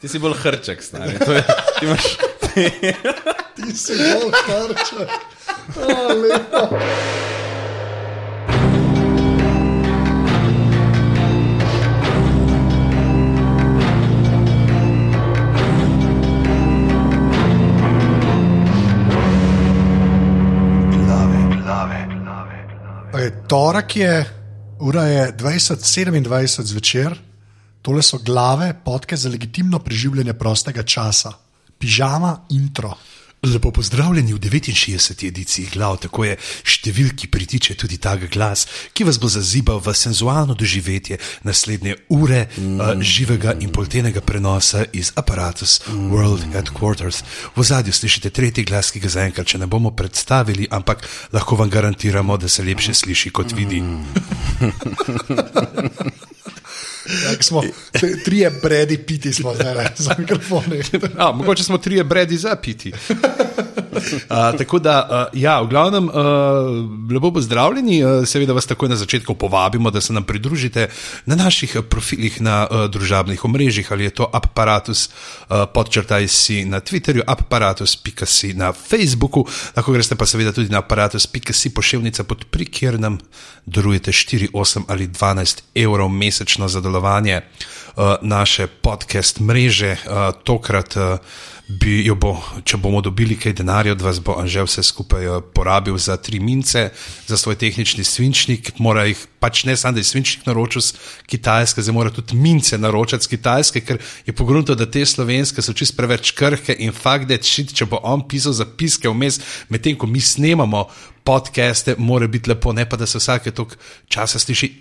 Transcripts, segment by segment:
Ti si bolj hrček, stari. To je, ti imaš, Ti si bolj tarča. A, lepo. Ej, Torek je, ura je 20:27 zvečer, tole so glave, podke za legitimno preživljanje prostega časa, pižama, intro. Lepo pozdravljeni v 69. ediciji Glav, tako je številki pritiče tudi ta glas, ki vas bo zazibal v senzualno doživetje naslednje ure mm. uh, živega in poltenega prenosa iz aparatus mm. World Headquarters. V zadju slišite tretji glas, ki ga zaenkrat še ne bomo predstavili, ampak lahko vam garantiramo, da se lepše sliši kot vidi. Tak smo, te- trije bredi piti smo zdaj le, za mikrofone. A, mogoče smo trije bredi za piti. A, tako da, uh, ja, v glavnem, uh, lepo pozdravljeni. Uh, seveda vas takoj na začetku povabimo, da se nam pridružite na naših eh, profilih na uh, družabnih omrežjih, ali je to aparatus, uh, podčrtaj si na Twitterju, aparatus.si na Facebooku, lahko greste pa seveda tudi na aparatus.si pošiljka pod pri, kjer nam darujete 4, 8 ali 12 evrov mesečno za delovanje uh, naše podcast mreže. Uh, tokrat uh, bi jo bo, če bomo dobili kaj denarja od vas, bo Anžel vse skupaj eh, porabil za tri mince, za svoj tehnični svinčnik. Mora jih pač ne samo, da je svinčnik naročil z Kitajske, zdaj mora tudi mince naročati z Kitajske, ker je pogrunto, da te slovenske so čist preveč krhke in fakt, da šit, če bo on pisal zapiske vmes, medtem ko mi snemamo podcaste, mora biti lepo, ne pa da se vsake tok časa sliši.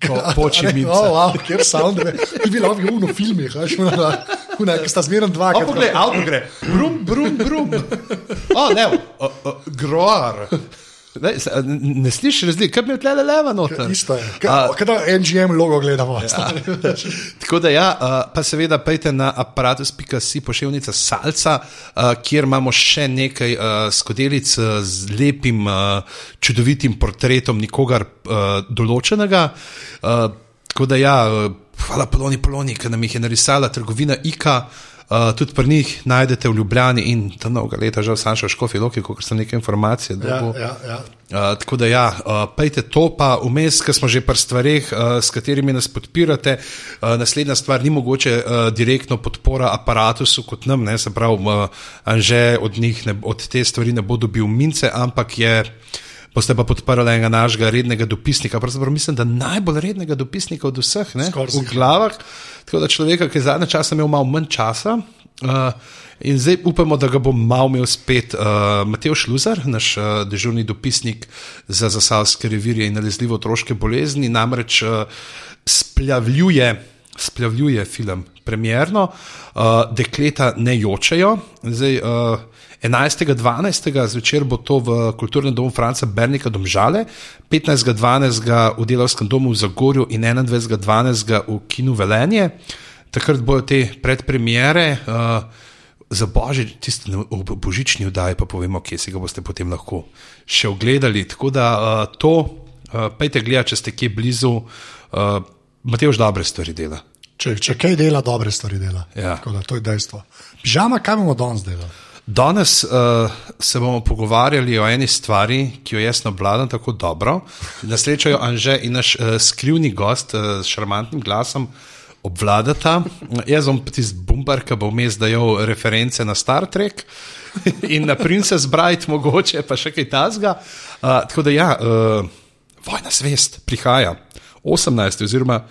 Ko poči Ne, mi. Oh, wow, kjer soundove, ti bi lahko bil v filmih, veš, una, una, ki sta zmeren A, dvakrat. poglej, avto gre, brum, brum, brum. O, ne, o, o, groar. Ne, ne slišiš razlike, kaj mi je tle leva noter. Isto je. Kaj da NGM logo gledamo? Ja. Tako da, ja, uh, pa seveda pejte na aparatus.si pošiljka salca, uh, kjer imamo še nekaj uh, skodelic uh, z lepim, uh, čudovitim portretom nikogar uh, določenega. Uh, tako da, ja, eh, hvala Poloni Poloni, ki nam jih je narisala trgovina Ika. Uh, tudi pri njih najdete v Ljubljani in tam dolga leta, žal, Sanša Škofi, Loki, kot sem nekaj informacije Ja, dobil. ja, ja. Uh, tako da, ja, uh, pejte to, pa vmes, ki smo že pri stvarih, uh, s katerimi nas podpirate. Uh, naslednja stvar ni mogoče uh, direktno podpora aparatu kot nam, ne, se pravi, uh, Anže od, njih ne, od te stvari ne bo dobil mince, ampak je. Boste pa podprli enega našega rednega dopisnika, pravzaprav mislim, da najbolj rednega dopisnika od vseh, ne, Skoraj v glavah. Tako da človeka, ki je zadnje čase imel malo manj časa. Uh, in zdaj upamo, da ga bo malo imel spet uh, Mateo Šluzar, naš uh, dežurni dopisnik za zasavske revirje in nalezljivo otroške bolezni, namreč uh, splavljuje. Splavljuje film, premjerno, uh, dekleta ne jočejo. Zdaj, uh, 11.12. zvečer bo to v kulturnem domu Franca Bernika Domžale, 15.12. v Delavskem domu v Zagorju in 21.12. v Kinu Velenje. Takrat bojo te predpremiere. Uh, Za božič, tisti božični vdaj, pa povemo, kje si ga boste potem lahko še ogledali. Tako da uh, to, uh, pejte gledati, če ste kje blizu, uh, Mateoš dobre stvari dela. Če, če kaj dela, dobre stvari dela. Ja. Tako Da, to je dejstvo. Pižama, kaj bomo danes delali? Danes uh, se bomo pogovarjali o eni stvari, ki jo jaz ne obvladam tako dobro. Na srečo jo Anže in naš uh, skrivni gost uh, s šarmantnim glasom obvladata. Jaz bom tisti bumbar, ki bo vmes dajal reference na Star Trek in na Princess Bride, mogoče pa še kaj tasga. Uh, tako da ja, uh, vojna svest prihaja. 18. oziroma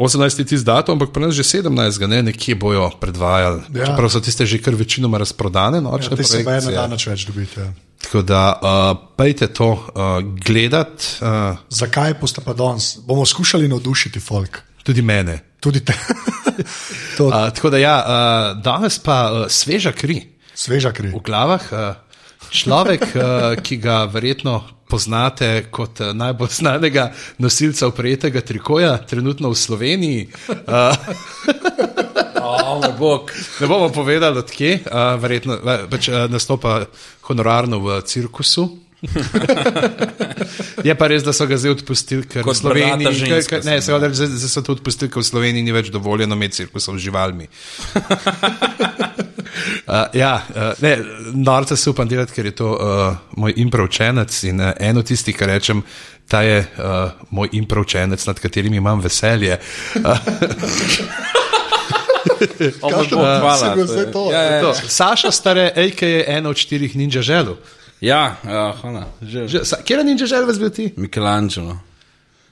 18. je tisti datum, ampak pri nas že 17. ne, nekje bojo predvajali. Ja. Ja. Čeprav so tiste že kar večinoma razprodane, Ja, nočne ti se pa ena projekcije. dan več dobiti. Ja. Tako da uh, pejte to uh, gledati, uh, Zakaj boste pa danes? Bomo skušali navdušiti folk. tudi mene. Tudi te. to je Uh, tako da ja, uh, danes pa uh, sveža kri sveža kri. v glavah. Uh, človek, uh, ki ga verjetno poznate kot uh, najbolj znanega nosilca oprijetega trikoja, trenutno v Sloveniji. Uh, o moj bog, Ne bomo povedali, odkje, uh, verjetno uh, pač, uh, nastopa honorarno v cirkusu. Je pa res, da so ga zdaj odpustili, ker v Kot Sloveniji brata ženske ker- ker- ne, sem, se odreč, zdaj, zdaj so to odpustili, ker v Sloveniji ni več dovoljeno imeti cirkusov z živalmi. Uh, ja, uh, ne, norce se upam delati, ker je to uh, moj improvčenec in uh, eno tistih, ki rečem, ta je uh, moj improvčenec, nad katerim imam veselje. O, moj Kakšen bog, opis hvala, je bil to zdaj je- to? Ja, ja, To, ja. Eh, Saša stare, AK je ena od štirih ninja želv. ja, ja, hvala. Že. Že- sa- Kje je ninja želv bil ti? Michelangelo.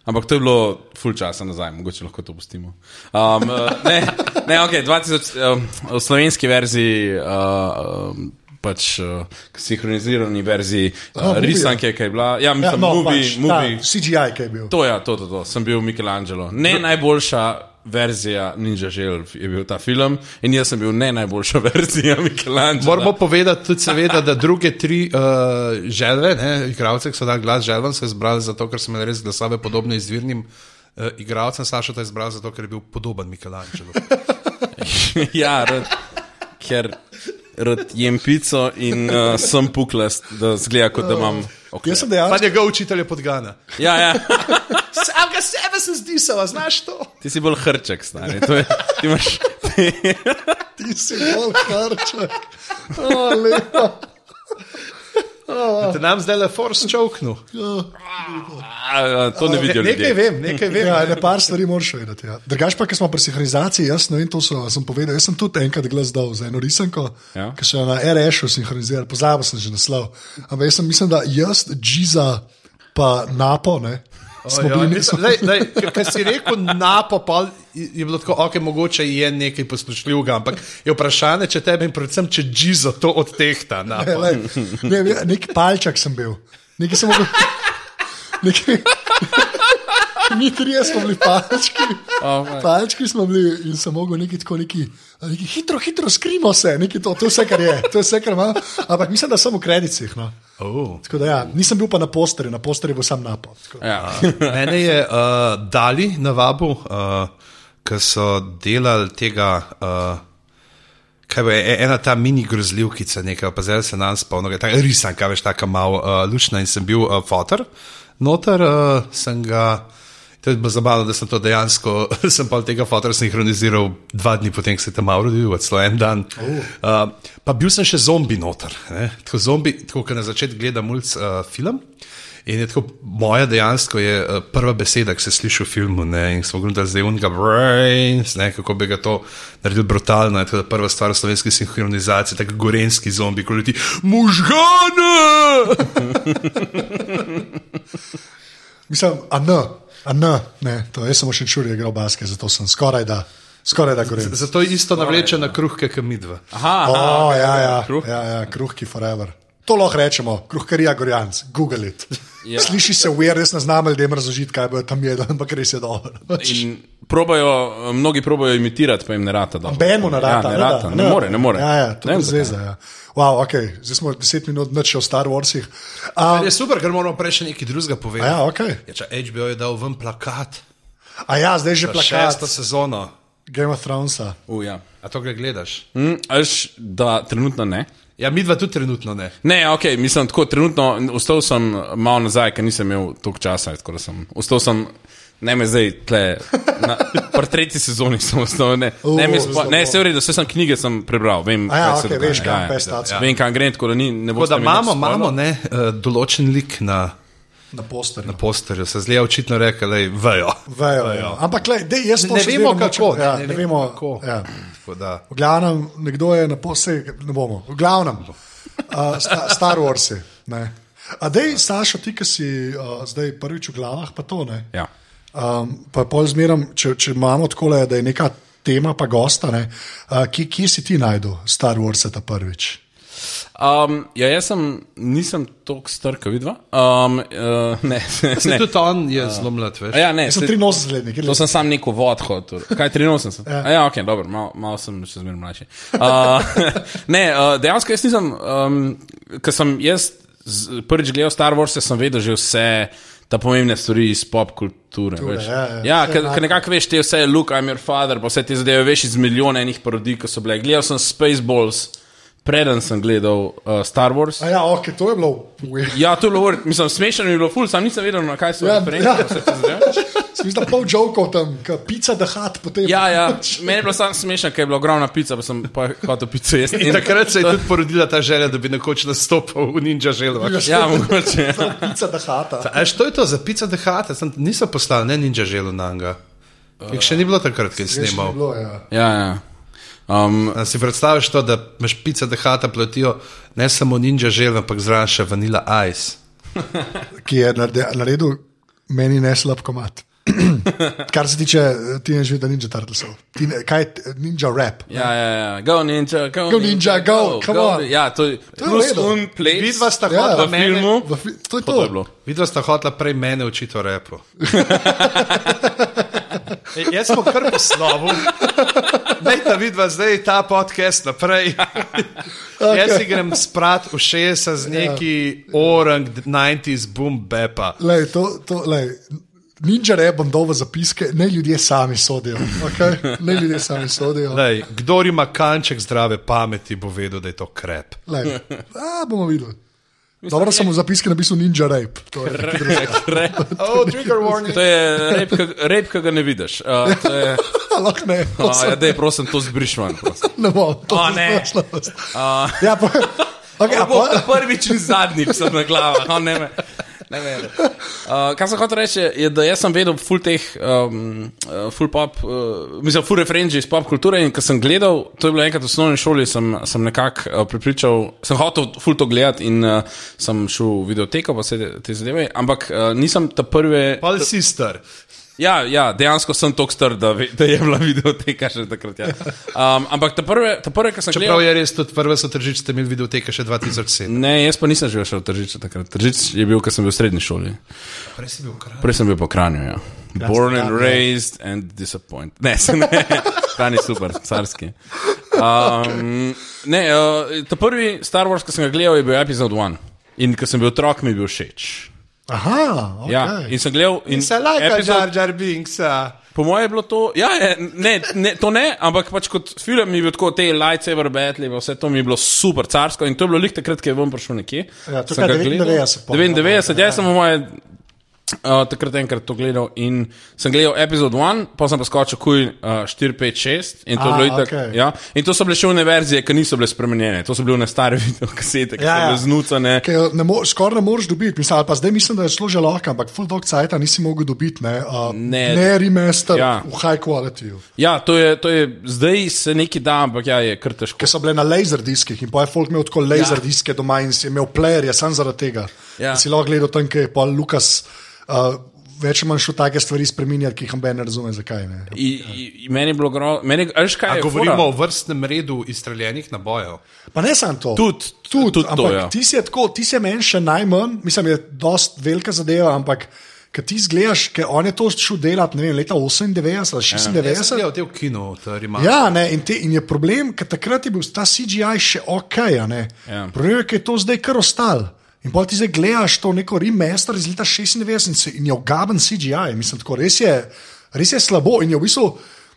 Ampak to je bilo full časa nazaj, mogoče lahko to pustimo. Um, eh, ne, ne, ok, 2000, um, v slovenski verziji, uh, um, pač uh, sinhronizirani verziji, A, uh, movie, risanke, ki je bila. Ja, mislim, ja, no, no, movie, pač, pač, movie. ta CGI, ki je bil. To, ja, to, to, to, sem bil Michelangelo. Ne najboljša verzija Ninja Želv je bil ta film in jaz sem bil ne najboljša verzija Michelangela. Moramo povedati tudi, seveda, da druge tri uh, želve, ne, igravce, ki so dali glas želvam, so izbrali zato, ker so imeli res glasove podobne izvirnim. Uh, igravcem Saša je izbral zato, ker je bil podoben Michelangelo. ja, rad, ker rad jem pico in uh, sem puklast, da zgleda, kot da imam okvir. Oh. Jaz sem Pa dejansko njegov učitelj je podgana. Ja, ja, Sam ga sebe sem zdisal, a znaš to? ti si bolj hrček, stari. To je, ti imaš, ti, ti si bolj karček. Oh, lepo. Te nam zdaj le force čovknil. a, a, to ne vidijo Nekaj ljudje. vem, nekaj vem. Ja, ne par stvari moraš vedeti. Ja. Drugač pa, ki smo pri sinhronizaciji, jaz ne vem, to so, sem povedal, jaz sem tudi enkrat glas dal za eno risanko, ja. Ja. ki so jo na RS-u sinhronizirali, pozabil sem že naslov. Ampak jaz sem mislim, da jaz, Džiza, pa Napo, ne. Smo Ja, bili mislim, lej, lej, ker- Ker si rekel na popol, je bilo tako, ok, mogoče je nekaj poslušljivega, ampak je vprašanje, če tebe in predvsem, če Džizo to odtehta. na Ne, pol. lej, ne, ne, nek palček sem bil, nekaj sem mogel. Nekaj, mi trije smo bili palčki. Oh, Oh, palčki smo bili in sem mogel neki tako neki, neki hitro, hitro skrimo se, neki to, to je vse, kar je, to je vse, kar imam. Ampak mislim, da sem v kredicih. No. Oh. Tako da ja, nisem bil pa na posterju, na posterju bo sam napad. Tako da- Ja. Mene je uh, dali na vabu, uh, ki so delali tega. Uh, Kaj bo, e- ena ta mini grozljivkica, nekaj, pa zdaj se nam spomnim, no, ta risanka, veš, tako malo uh, lučna in sem bil uh, fotor, noter uh, sem ga. To je bilo zabavno, da sem to dejansko, sem pa tega fotora sinhroniziral dva dni potem, ko se je tam rodil, odsloj en dan. Uh. Uh, pa bil sem še zombi noter, ne. tako zombi, tako kot na začetku gledam mulc uh, film. In je tako, moja dejansko je eh, prva beseda, ki se sliši v filmu. Ne, in smo gledali zdaj unga brains, ne, kako bi ga to naredil brutalno. Je to prva stvar v slovenski sinhronizaciji, tako gorenski zombi, ko ljudi možgane! Mislim, a ne, a ne, ne, to jaz sem še čurje igral baske, zato sem skoraj da, skoraj da gorim. Zato je isto navleče na kruhke, kot midva. Aha, aha. Oh, ja, ja, Kruh? ja, ja, kruhki forever. To lahko rečemo, kruhkarija Gorjanc, Google it. Ja. Ja. Sliši se ujer, res ne znam ljudem razložiti, kaj bo tam jedel, ampak res je dobro. Pač, In probajo, mnogi probajo imitirati, pa jim ne rata. dobro. Benu narata, ja, ne, rata. ne more, ne more. Ja, ja, to Ne je vem, zveza. Ja. Wow, okay. Zdaj smo 10 minut nič še o Star Warsih. Um, Je super, ker moramo prej še nekaj drugega a, povedati. ja, okay. Ja, če HBO je dal ven plakat, a ja, zdaj že plakat. šesto plakat sezono, Game of Thronesa. U, ja. a to ga gledaš. mm, až, da, trenutno ne. Ja, midva tudi trenutno ne. Ne, ok, mislim tako, trenutno vstal sem malo nazaj, ker nisem imel toliko časa. tako da Sem, vstal sem, ne me zdaj, tle, na pri tretji sezoni sem vstal. Ne, ne, mi je spo, ne se uredi, vse sem knjige sem prebral, vem, A ja, kaj se okej, dogaja, veš, kam pes ja, taca. ja. Vem, kam gre, tako da ni, ne bo Tako da imamo, imamo ne, eh, določen lik na. Na posterju. posterju, se zlija očitno reka, da vejo. Vejo, vejo. Ampak, le, dej, jaz to Ne še vemo, vedno kako, nočem- ne, Ja, ne ne vemo, vemo, kako. Ja. Tako da- V glavnem, nekdo je na posebej, ne bomo, v glavnem, uh, sta, Star Wars. A dej, Sašo, ti, ki si uh, zdaj prvič v glavah, pa to ne. Ja. Um, pa pol zmeram, če, če imamo tako, da je neka tema, pa gosta, ne, uh, kje, kje si ti najdel Star Wars ta prvič? Um, ja, jaz sem, nisem tako star, kot vidva. Um, uh, ne, Ne. ne. Tudi on je zelo mlad, veš. A Ja, ne, Jaz sem se- 83 let, nekaj To let. No, sem sam neko vod hotel. Kaj 83? Ja, ja ok, dobro, malo mal sem še zmeraj mlajši. Uh, ne, uh, dejansko jaz nisem, um, ker sem jaz z- prvič gledal Star Wars, sem vedel že vse. Ta pomembne stvari iz pop kulture. veš. ja, ja, ja vse ker enako. ker nekako veš, te vse, Luke, I'm your father, pa vse te zadeve veš iz milijona enih parodij, ki so bile. Gledal sem Spaceballs, preden sem gledal uh, Star Wars. A ja, ok, to je bilo. Ja, to je bilo, vrd. mislim, smešno mi je bilo, ful, sam nisem vedel, na kaj se Ja, ja. referenča. Smisel pol žokov tam, ki pica da hat potem. Ja, ja, meni je bilo samo smešno, ker je bila ogromna pica, pa sem pa hotel pico jesti. In takrat se je tudi porodila ta želja, da bi nekoč nastopil v Ninja Želvah. Ja, mogoče. Ja. pica da hata. A što je to za pica dehata? Sem, niso poslali, ne Ninja Želvnanga. Uh, še ni bilo takrat, ko je Veš, ni snimal. bilo, ja. Ja, ja. Um, A si predstavljaš to, da imaš pica dehata platijo ne samo Ninja Želv, ampak zraven še Vanilla Ice. Ki je narede- naredil meni neslab komat. Kar se tiče eh, Teenage Mutant Ninja Turtlesov. Tine- Kaj je t- Ninja Rap? ja, ja, ja, go ninja, go, Go ninja, go, come on. Ja, to je je v plus redu. un play. Vidva sta Ja, hotla v mene, filmu. V fi- To je to. To je bilo. vidva sta hotla prej mene učiti o repu. Ej, Jaz smo kar poslovil. Naj vidva zdaj ta podcast naprej. Okay. Jaz si grem sprat v 60 z neki yeah. orang 90s boom bepa. Lej, to, to, lej. Ninja rap bom dal v zapiske, ne ljudje sami sodijo. Okay? Ne ljudje sami sodijo. Lej, kdor ima kanček zdrave pameti, bo vedel, da je to krep. Lej. A, bomo videli. Dobro, sem v zapiske napisal Ninja rap. To je nekaj drugega. Oh, trigger warning. To je rep, ka- rep, ki ga ne vidiš. Uh, to je, Lahko ne. to uh, sem- ja, dej, prosim, to zbriš ven. prosim. Uh, Ne bom, to O, je ja. ne. znašlost. Ja, pa, okay, Ja, a bo, pa, prvič in zadnjič sem na glavah. No, ne me, ne me. Uh, kar sem hotel reči, je, da jaz sem vedel full teh, um, uh, full pop, uh, mislim, full referenci iz pop kulture in ko sem gledal, to je bilo enkrat v osnovni šoli, sem, sem nekako uh, pripričal, sem hotel full to gledati in uh, sem šel v videoteko, pa vse te, te zadeve, ampak uh, nisem ta prve. Pol sister. Ja, ja, dejansko sem tako star, da, ve- da je bila videoteka še takrat. Ja. Um, ampak te prve, te prve, ki sem gledal. Čeprav je res tudi prva so tržičite imeli videoteke še 2007. Ne, jaz pa nisem živel še v Tržiču takrat. Tržič je bil, ko sem bil v srednji šoli. Mm, Prej si bil krep. Prej sem bil po Kranju, ja. Born and raised and disappointed. Ne, se ne, Kranj je super, carski. Um, ne, uh, ta prvi Star Wars, ki sem ga gledal, je bil epizod 1. In ko sem bil otrok, mi je bil všeč. aha, okay. Ja, in sem gledal. In Se lajka, epizod- Jar Jar Binksa. Po mojem je bilo to, ja, je, ne, ne, to ne, ampak pač kot film je bil tako, te lightsaber battle, pa vse to mi je bilo super carsko in to je bilo lik takrat, ko je ven prišel nekje. Ja, to Sem kaj, ga 99 pa, gledal. ja. 99, jaz sem v moje, uh, takrat enkrat to gledal in sem gledal epizod 1, pa sem pa skočil kuj uh, 4, 5, 6 in to, A, je bilo itak, Ah, okej. ja, in to so bile še une verzije, ki niso bile spremenjene, to so bile une stare videokasete, ki Ja, ja, so ja. bile znucane. Ker jo ne mo- Skoraj ne moreš dobiti, mislim, ali pa zdaj mislim, da je zelo že lahko, ampak full dog cajt nisi mogel dobiti, ne, uh, Ne. ne remaster Ja. ja. v high quality. Ja, to je, to je, zdaj se neki da, ampak ja, je kar težko. Ker so bile na laserdiskih in pa je folk imel tako laserdiske ja. doma in si imel playerje, sam zaradi tega. Ja. In Si lahko gledal tam, kjer je pa Lukas uh, več ali manj šel take stvari spreminjati, ki jih noben ne razume, zakaj ne. I, i, meni je bilo grozno, meni je, veš kaj, A je govorimo fora? o vrstnem redu izstreljenih nabojev. Pa ne samo to. Tudi- tudi, tudi to, ampak ja. Ti si je tako, ti si je meni še najmanj, mislim, je dost velika zadeva, ampak ki ti zgledaš, ker on je to šel delati, ne vem, leta 98 Ja. ali Jaz sem 96. gledal te v kinu, Rima. Ja, ne, in, te, in je problem, ker takrat je bil ta CGI še ok. a ne. Ja. Problem je, ker je to zdaj kar ostalo. In pa ti zdaj gledaš to neko remaster iz leta 96 in, se, in je ogaben CGI. Mislim, tako, res, je, res je slabo in je v bistvu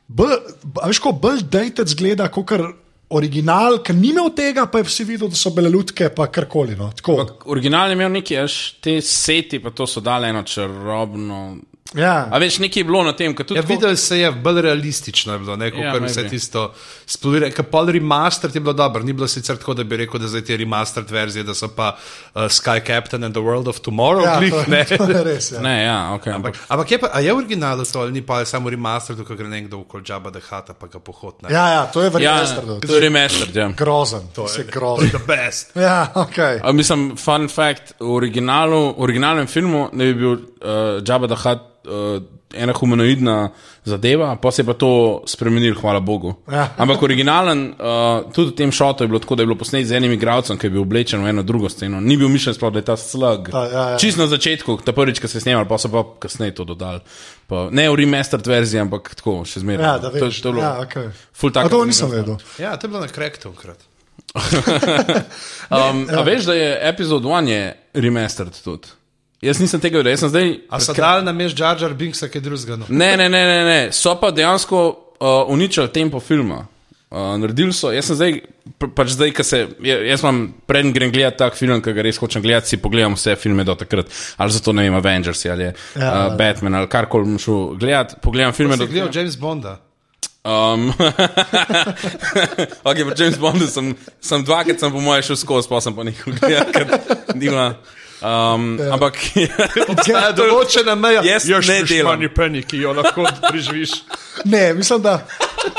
bolj, b- a veš, ko bolj dated zgleda, kot kar original, ker ni imel tega, pa je vsi videl, da so bile lutke, pa karkoli. No. Tako, Original je imel neki, veš, te seti, pa to so dale eno čarobno. A ja. veš, nekaj je bilo na tem, kot tudi. Ja, tako- videl se je bolj realistično, je bilo neko, Ja, ja, kar maybe. vse tisto. Spolira, pol remaster je bilo dobro, ni bilo sicer tako, da bi rekel, da zdaj te remastered verzije, da so pa uh, Sky Captain and the World of Tomorrow, Ja, ja, glih, to, ne. to je res. Ja. Ne, ja, ok. Ampak, Ampak, ampak je, pa, a je v originalu to ali ni pa je samo remaster, ko gre nekdo v Koldžaba dehata, pa ga pohod na. Ja, ja, to je ja, verjetno to je remastered, ja. grozen. To je grozen. The best. Ja, okay. A, mislim, fun fact, v originalu, v originalnem filmu ne bi bil uh, Jabba da Hutt uh, ena humanoidna zadeva, pa se je pa to spremenil, hvala Bogu. Ja. Ampak originalen, uh, tudi v tem šotu je bilo tako, da je bilo posnet z enim igralcem, ki je bil oblečen v eno drugo sceno. Ni bil mišljen sploh, da je ta slug. Ta, ja, ja. Čist na začetku, ta prvič, ko se je snimal, pa so pa kasneje to dodali. Pa, ne v remastered verziji, ampak tako še zmeraj. Ja, da To je- veš. to je bilo ja, okay. ful taka A to zanimiva nisem stvar. vedel. Ja, to je bilo na krektu enkrat. Um, a veš, da je epizod 1 je remastered tudi. Jaz nisem tega videl, jaz sem zdaj. A so dal na mež Jar Jar Binksa, kaj drugega? No? Ne, ne, ne, ne, ne. so pa dejansko uh, uničili tempo filma. Uh, naredili so, jaz sem zdaj, pa- pač zdaj, ki se, ja- jaz imam, preden grem gledati tak film, ki ga res hočem gledati, si pogledam vse filme do takrat. Ali zato ne vem, Avengers ali je, ja, uh, Batman ali kar koli bom šel gledati, pogledam filme do Ste gledali James Bonda? Um, ok, pri James Bondu sem, sem dvakrat, sem po mojem šel skozi, pa sem pa nekaj gledal, ker nima. Um, ampak Ja, določena meja. Jaz Još ne delam. šmarni peni, ki jo lahko preživiš. Ne, mislim, da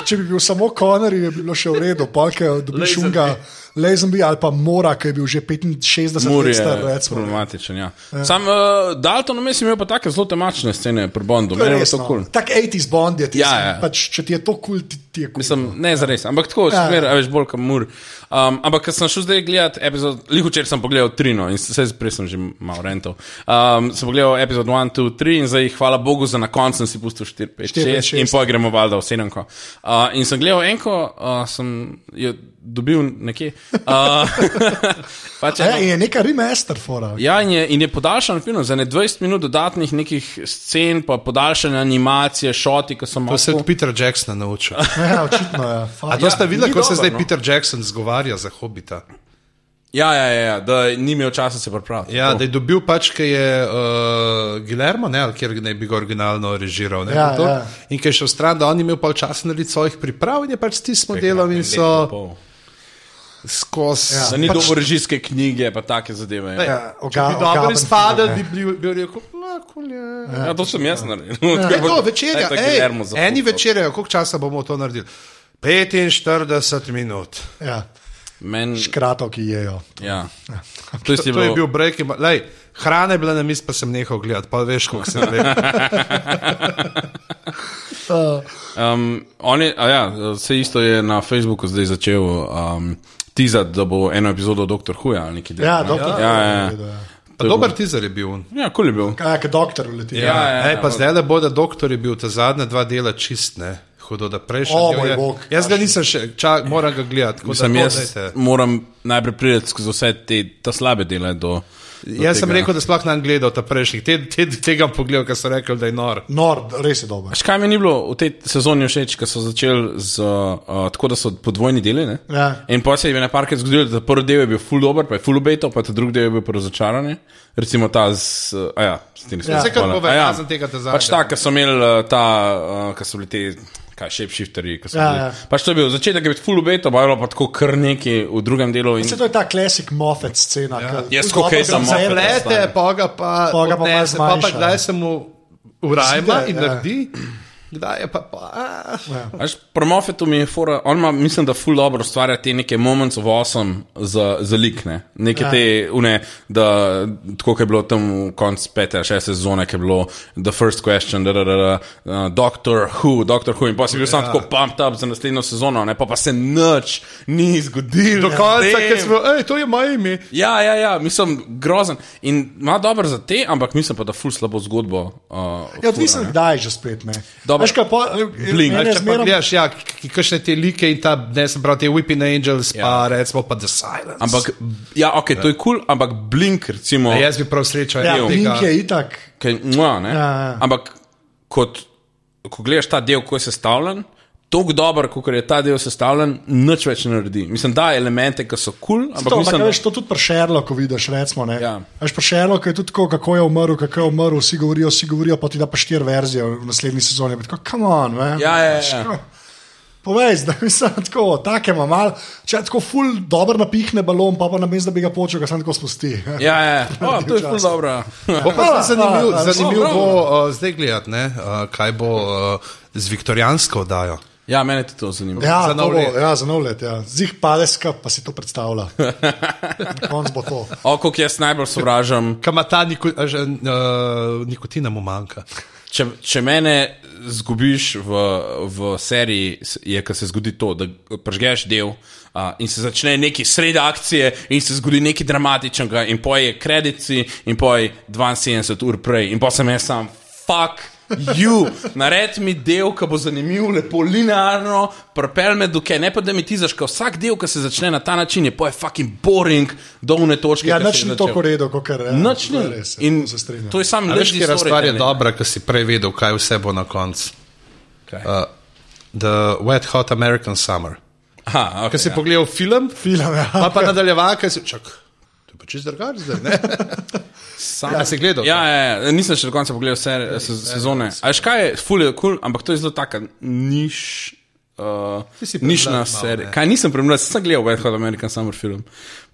če bi bil samo Konor, je bilo še v redu, pa če dobiš Lazenby. unga, Lazenby ali pa Mora, ki je bil že 65 Mur let je star, recimo. problematičen. Ja. Sam uh, Dalton vmes je imel pa take zelo temačne scene pri Bondu, To je meni je res, to no. kul. Cool. Tako 80s Bond je ti. Ja, ja. Pač, če ti je to kul, cool, ti, ti je kul. Cool. Mislim, ne za res, ampak tako, ja. Ja. zmer, a veš, bolj kot mur. Um, ampak, ker sem šel zdaj gledati epizod, lih včeraj sem pogledal Trino in se prej sem že malo rental. Um, sem pogledal epizod 1, 2, 3 in zdaj, hvala Bogu, za na koncu sem si pustil 4, 5, Štiri, pet, 6 in šest. pa gremo valjda v 7. Uh, in sem gledal enko, uh, sem jo dobil nekje. Uh, pač Ja, eno- in je neka remaster fora. Ja, in je, in je podaljšan film za ne 20 minut dodatnih nekih scen, pa podaljšane animacije, šoti, ki so To malo. se je od Petra Jacksona naučil. Ja, očitno je. A Ja. to ste videli, ni ko se dobro, zdaj no. Peter Jackson zgovarja za hobita? Ja, ja, ja, ja, da ni imel časa se pripraviti. Ja, da je dobil pač, ki je uh, Gilermo, ne, ali kjer naj bi ga originalno režiral. Ne, Ja, pa to. ja. In ki je šel stran, da on je imel pa čas narediti svojih priprav in je pač stisnil delom in so skozi. Ja. Da ni Pač- dobro režijske knjige, pa take zadeve. Ja, Ja, oga- bi dobro ogaben izpadel, film, ja. bi bil, bil rekel, no, kulje. ja to sem jaz naredil. Ja, to Daj, večerja, to ej, Guillermo za eni fuck, to. večerja, koliko časa bomo to naredili? 45 minut. Ja, Men, škrato, ki jejo. ja. To, je To je bil break, in ba- lej, hrana je bila na mizi, pa sem nehal gledati, pa veš, kako se reče. Um, on je, a ja, vse isto je na Facebooku zdaj začel um, tizati, da bo eno epizodo Doktor Huja ali nekaj delal, Ja, ne? doktor. ja, ja. To je Dober teaser je bil. on. bilo- ja, kul je bil. Kaj je, doktor uleti. Ja, ja, Ej, ja, pa ja. zdaj le bo, da doktor je bil ta zadnja dva dela čistne. Hudo, da prejšnji. O, del moj je- bog. Jaz ga nisem še, čak, moram ga gledati. tako da Mislim, to jaz dajte. moram najprej priti skozi vse te ta slabe dele. Do, do Jaz sem tega. rekel, da sploh ne gledal ta prejšnji. Te, te, tega bom pogledal, ker sem rekel, da je nor. Nor, res je dober. Veš, kaj mi ni bilo v tej sezoni všeč, ko so začeli z, uh, tako, da so podvojni deli. ne? Ja. In pa se je na parkrat zgodilo, da prvi del je bil full dober, pa je full obeto, pa ta drugi del je bil pa razočaranje. Recimo ta z. Uh, a ja, s tem Ja. nisem Vse, kar spomnil. pove, A ja. razen tega, da zadnja. Pač ta, ki so imeli uh, ta, uh, ki so bili ti, kaj shapeshifterji, ki so Ja, bili. ja. Pač to je bil začetek, je bil full obeto, pa je bilo pa tako kar neki v drugem delu. In... Vse to je ta klasik Moffat scena. Ja. Jaz kokej za Moffat. Plete, pa ga pa, Pol ga pa malo odnese, pa, pa zmanjša. kdaj se mu urajma Zide, in ja. naredi, kdaj je pa. pa a, Veš, Pri Moffetu mi je fora, on ima, mislim, da ful dobro ustvarja te neke moments of awesome za, za likne. Neke Ja. ja. te, une, da, tako kot je bilo tam v koncu pete, ali šeste sezone, ki je bilo The First Question, da, da, da, da uh, Doctor Who, Doctor Who in pa si bil ja. sam tako pumped up za naslednjo sezono, ne pa, pa se nič ni zgodilo. Do konca, Damn. ker smo, hej, to je moje ime. Ja, ja, ja, mislim, grozen. In ima dobro za te, ampak mislim pa, da ful slabo zgodbo. Uh, Ja, fura, odvisno ne. kdaj že spet. Ne. Dobro. Veš, kaj pa, Blink. mene Ali Če pa zmerom- gledaš, ja, kakšne te like in ta, ne sem prav te Whipping Angels, ja. pa recimo pa The Silence. Ampak, ja, ok, to je kul, cool, ampak blink, recimo. Ja, jaz bi prav srečo Ja, imel Blink tega. je itak. Kaj, mua, ja, ja. ja. Ampak kot, ko gledaš ta del, ko je sestavljen, tako dober, kot je ta del sestavljen, nič več ne naredi. Mislim, da elemente, ki so kul, cool, ampak To, mislim, ampak, veš, to tudi pri Šerloku vidiš. Recimo, ja. Ja. Veš, pri Šerloku je tudi tako, kako je umrl, kako je umrl, vsi govorijo, vsi govorijo, pa ti da pa štiri verzije v naslednji sezoni. Tako, come on, man. Ja, ja, ja. Veš, ko- Povej, da mi se tako, take ima mal, če tako ful dobro napihne balon, pa pa na mesto, da bi ga počel, ga sam tako spusti. Ja, ja, o, to je ful Včasih. dobro. Bo pa Hvala, zdaj zanimiv, hvala, zanimiv hvala. bo uh, zdaj gledati, ne, uh, kaj bo uh, z viktorijansko oddajo. Ja, mene tudi to zanima. Ja. Ja, Za za nov nov let. let. Ja, za nov let ja. Zih pade skup, pa si to predstavlja. Na koncu bo to. O, koliko jaz najbolj sovražam. Kam ta niko, a že, uh, nikotina mu manjka. Če, če mene zgubiš v, v seriji, s- je, ko se zgodi to, da prežgeš del uh, in se začne neki sredi akcije in se zgodi nekaj dramatičnega in poje kredici in poje 72 ur prej in pa sem jaz sam, fuck. You, naredi mi del, ki bo zanimiv, lepo linearno, propel me do kaj, ne pa da mi ti zaška. Vsak del, ki se začne na ta način, je pa je fucking boring, do une točke. Ja, ko se nič je ni začel. tako redo, kot kar je. Nič ni. To je res, ja, In to se strinjam. to je sam A veš, leži, kje stvar je dobra, ker si prej vedel, kaj vse bo na koncu. Kaj? Eh, Uh, the Wet Hot American Summer. Aha, Ker okay, si ja. pogledal film, Film, ja. pa pa nadaljeval, ker si čak. To je pa čist drugače zdaj, ne? Sam ja, si gledal. Ja, ja, ja, nisem še do konca pogledal vse eh, se, sezone. A veš kaj je, ful je kul, cool, ampak to je zelo taka niš. Uh, Ti si nišna premlad malo, serija. ne? Kaj nisem premlad, sem gledal Wet Hot American Summer film,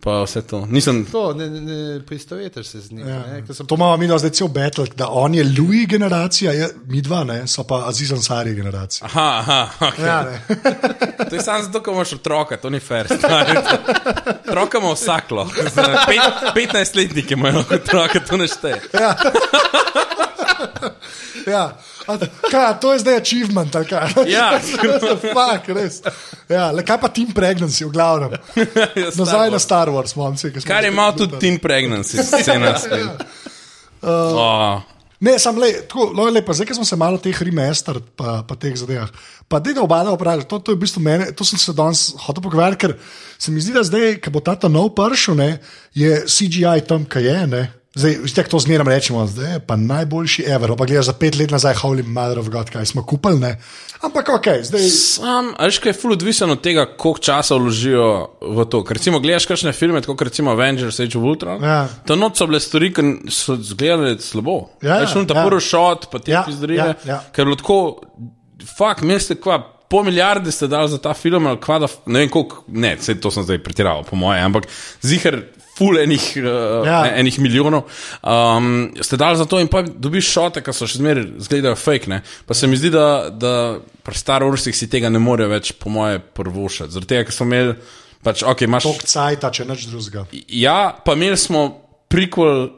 pa vse to. Nisem, To, ne, ne, ne poistovetiš se z njim. Ja. Ne, ker sem To imamo mi dva zdaj cel battle, da on je Louis generacija, je, mi dva ne, so pa Aziz Ansari generacija. aha, aha, okay. Ja, ne. To je samo zato, ker imaš otroka, to ni fair. stari. Otroka ima vsak lahko. stari. Pet, 15-letniki imajo lahko otroka, to ne šteje. ja. A, kaj, to je zdaj achievement, ali kaj? Ja. Fak, res. Ja, le kaj pa Team Pregnancy, v glavnem. Ja, Star Nazaj na Wars. Star Wars, momci. ki smo Kar že ima tudi obljubljali. teen pregnancy, scena. spet. Ja. Oh. Ne, sam le, tako, no, lepa, zdaj, ko smo se malo teh remaster, pa, pa teh zadevah. Pa da ga obala opravlja, to, to je v bistvu mene, to sem se danes hotel pogovarjati, ker se mi zdi, da zdaj, ko bo ta ta nov pršel, ne, je CGI tam, kaj je. Ne. Zdaj, veste, kako to zmeraj rečemo, zdaj je pa najboljši ever, pa gledaš za pet let nazaj, holy mother of god, kaj smo kupili, ne. Ampak ok, zdaj. Sam, a veš, kaj je ful odvisno od tega, koliko časa vložijo v to. Ker recimo gledaš kakšne filme, kot recimo Avengers, Age of Ultron, Ja. to noč so bile stvari, ki so izgledale slabo. Ja, veš, on ta ja. prvi šot, pa te Ja, ja, pizdarije, ja, ja. ker je bilo tako, fuck, meste kva. Pol milijarde ste dali za ta film, ali kva da, f- ne vem koliko, ne, vse to sem zdaj pretiraval, po moje, ampak zihar, ful enih, uh, Ja. ja. enih milijonov. Um, ste dali za to in pa dobiš šote, ki so še zmeraj zgledajo fake. Ne? Pa se mi zdi, da, da pri Star Warsih si tega ne more več, po moje, prvošati. Zaradi tega, ker smo imeli, pač, ok, imaš. Tok cajta, če nič drugega. Ja, pa imeli smo prikol.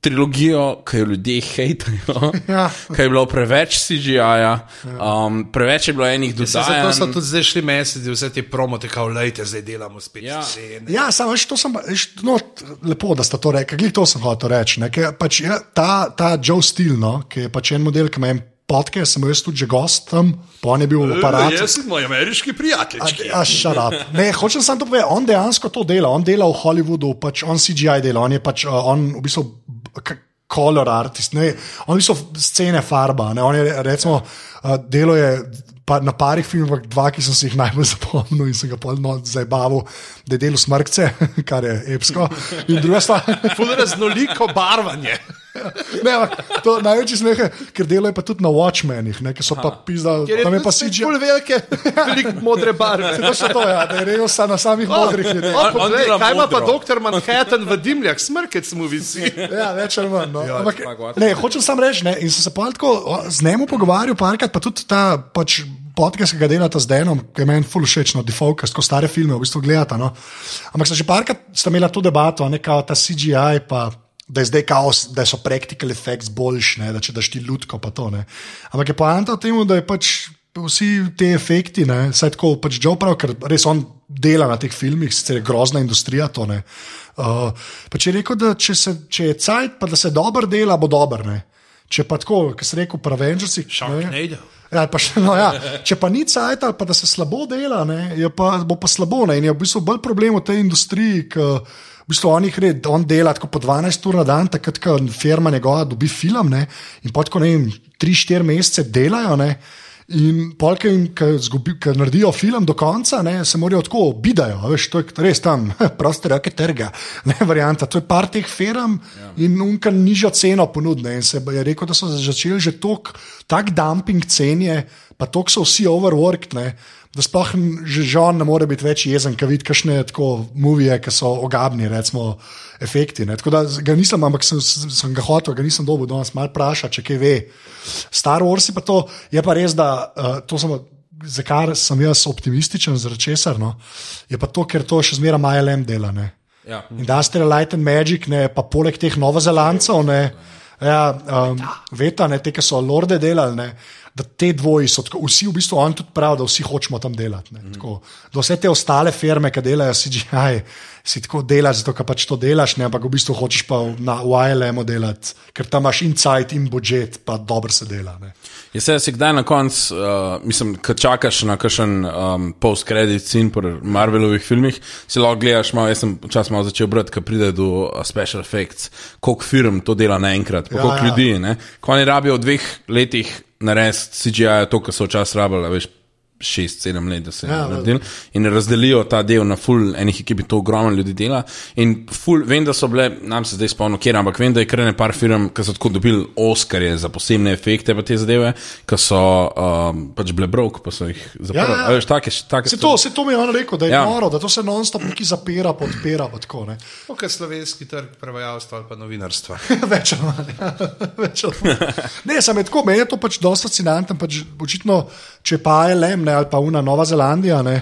Trilogijo, ki jo ljudje hejtajo, Ja. ki je bilo preveč CGI-ja, um, preveč je bilo enih Se, Ja. zato so dodajanj. tudi zdaj šli meseci, vse te promote, kao lejte, zdaj delamo spet Ja. ja. scene. Ja, samo veš, to sem, pa- veš, no, t- lepo, da ste to rekli, glej, to sem hotel reči. Ne, ker pač je, ta, ta Joe Steele, no, ki je pač en model, ki ima en podcast, sem jaz tudi že gost tam, pa on je bil aparat. in moj ameriški prijatelj. A, a, shut up. ne, hočem samo to povedati, on dejansko to dela, on dela v Hollywoodu, pač on CGI dela, on je pač uh, on v bistvu. b- k- Color artist, ne, oni so scene farba. Ne, on je, recimo, uh, delo je pa, na parih filmih, dva, ki sem si jih najbolj zapomnil in sem ga polno zabaval, da je delo smrkce, kar je epsko. In druga stvar, Ful raznoliko barvanje. ne, ampak to največji smeh je, ker delo je pa tudi na Watchmenih, ne, ki so pa pizdali, Ker je tam je tudi pa spet CGI. ful velike, veliko modre barve. To še to, ja, da je rejo sa- na samih modrih ljudeh. O, poglej, dela Kaj ima pa modro. doktor Manhattan v dimljah, smrkec mu visi. Ja, več ali manj. No. Ampak, fuck, what? ne, hočem samo reči, ne, in sem se pa tako o, z njim pogovarjal, parkrat, pa tudi ta pač, podcast, ki ga delata z Denom, ki je meni ful všeč, no, defocus, ko stare filme v bistvu gledata. No. Ampak sem že parkrat sta imela to debato, ne kao ta CGI, pa da je zdaj kaos, da so practical effects boljši, ne, da če daš ti ljudko, pa to ne. Ampak je poanta v tem, da je pač. Vsi ti efekti, ne, saj tako pač Joe pravi, ker res on dela na teh filmih, sicer je grozna industrija to ne. Uh, pa če je rekel, da če, se, če je cajt, pa da se dobro dela, bo dober. Ne. Če pa tako, kot se reče, pravenžerci. Sharknado. Ja, ali pa še, no, ja. Če pa ni cajt, ali pa da se slabo dela, ne, je pa, bo pa slabo. Ne. In je v bistvu bolj problem v tej industriji, ki v bistvu on jih red, on dela tako po 12 ur na dan, takrat, ko firma njegova dobi film ne, in pa tako ne vem, 3-4 mesece delajo. Ne, In polk jim, ki zgubi- ki naredijo film do konca, ne, se morajo tako obidajo, a veš, to je res tam, proste roke trga, ne varianta. To je par teh firm in unka nižjo ceno ponudne. In se je rekel, da so začeli že tok, tak dumping cenje, pa tok so vsi overworked, ne, da sploh n- že žon ne more biti več jezen, ker vidi kakšne tako muvije, ki so ogabni, recimo efekti. Ne. Tako da z- ga nisem, ampak sem, sem ga hotel, ga nisem dobil, da nas malo vpraša, če kaj ve. Star Wars je pa to, je pa res, da uh, to sem. Za kar sem jaz optimističen, zaradi česar no, je pa to, ker to še zmeraj MLM dela. Ne. Ja. Industrial Light and Magic, ne, pa poleg teh novozelancev, ne, ja, um, veta, ne, te, ki so lorde delali, ne, da te dvoji so tako, vsi v bistvu oni tudi pravijo, da vsi hočemo tam delati. Ne, tako, da vse te ostale firme, ki delajo CGI, si tako delaš, zato ker pač to delaš, ne, ampak v bistvu hočeš pa v- na YLM-u delati, ker tam imaš insight in budžet, pa dobro se dela. Ne. Je se Ja, si kdaj na koncu, uh, mislim, ko čakaš na kakšen um, post-credit scene po Marvelovih filmih, si lahko gledaš malo, jaz sem včasih malo začel brati, ko pride do uh, special effects, koliko firm to dela naenkrat, pa Ja, ja, koliko ja. ja. ljudi, ne. Ko oni rabijo v dveh letih narediti CGI, to, kar so včasih rabljali, a veš, šest, sedem let, da se je Ja, ja, valjda. naredil. In razdelijo ta del na full enih ekip, to ogromno ljudi dela. In full, vem, da so bile, nam se zdaj spomnim, kjer, ampak vem, da je krene par firm, ki so tako dobili Oscarje za posebne efekte, pa te zadeve, ki so um, pač bile brok, pa so jih zaprli. ja. Ja, ja. Take, take, Se to, se to mi je on rekel, da je ja. Ja. noro, da to se non-stop neki zapira, podpira. Pa tako, ne. Kot slovenski trg prevajalstva ali pa novinarstva. več ali manj. ja. Več ali manj. Ne, samo je tako, meni je to pač dosti fascinantno. Pač, očitno, če pa je LM ne, ali pa Una Nova Zelandija, ne,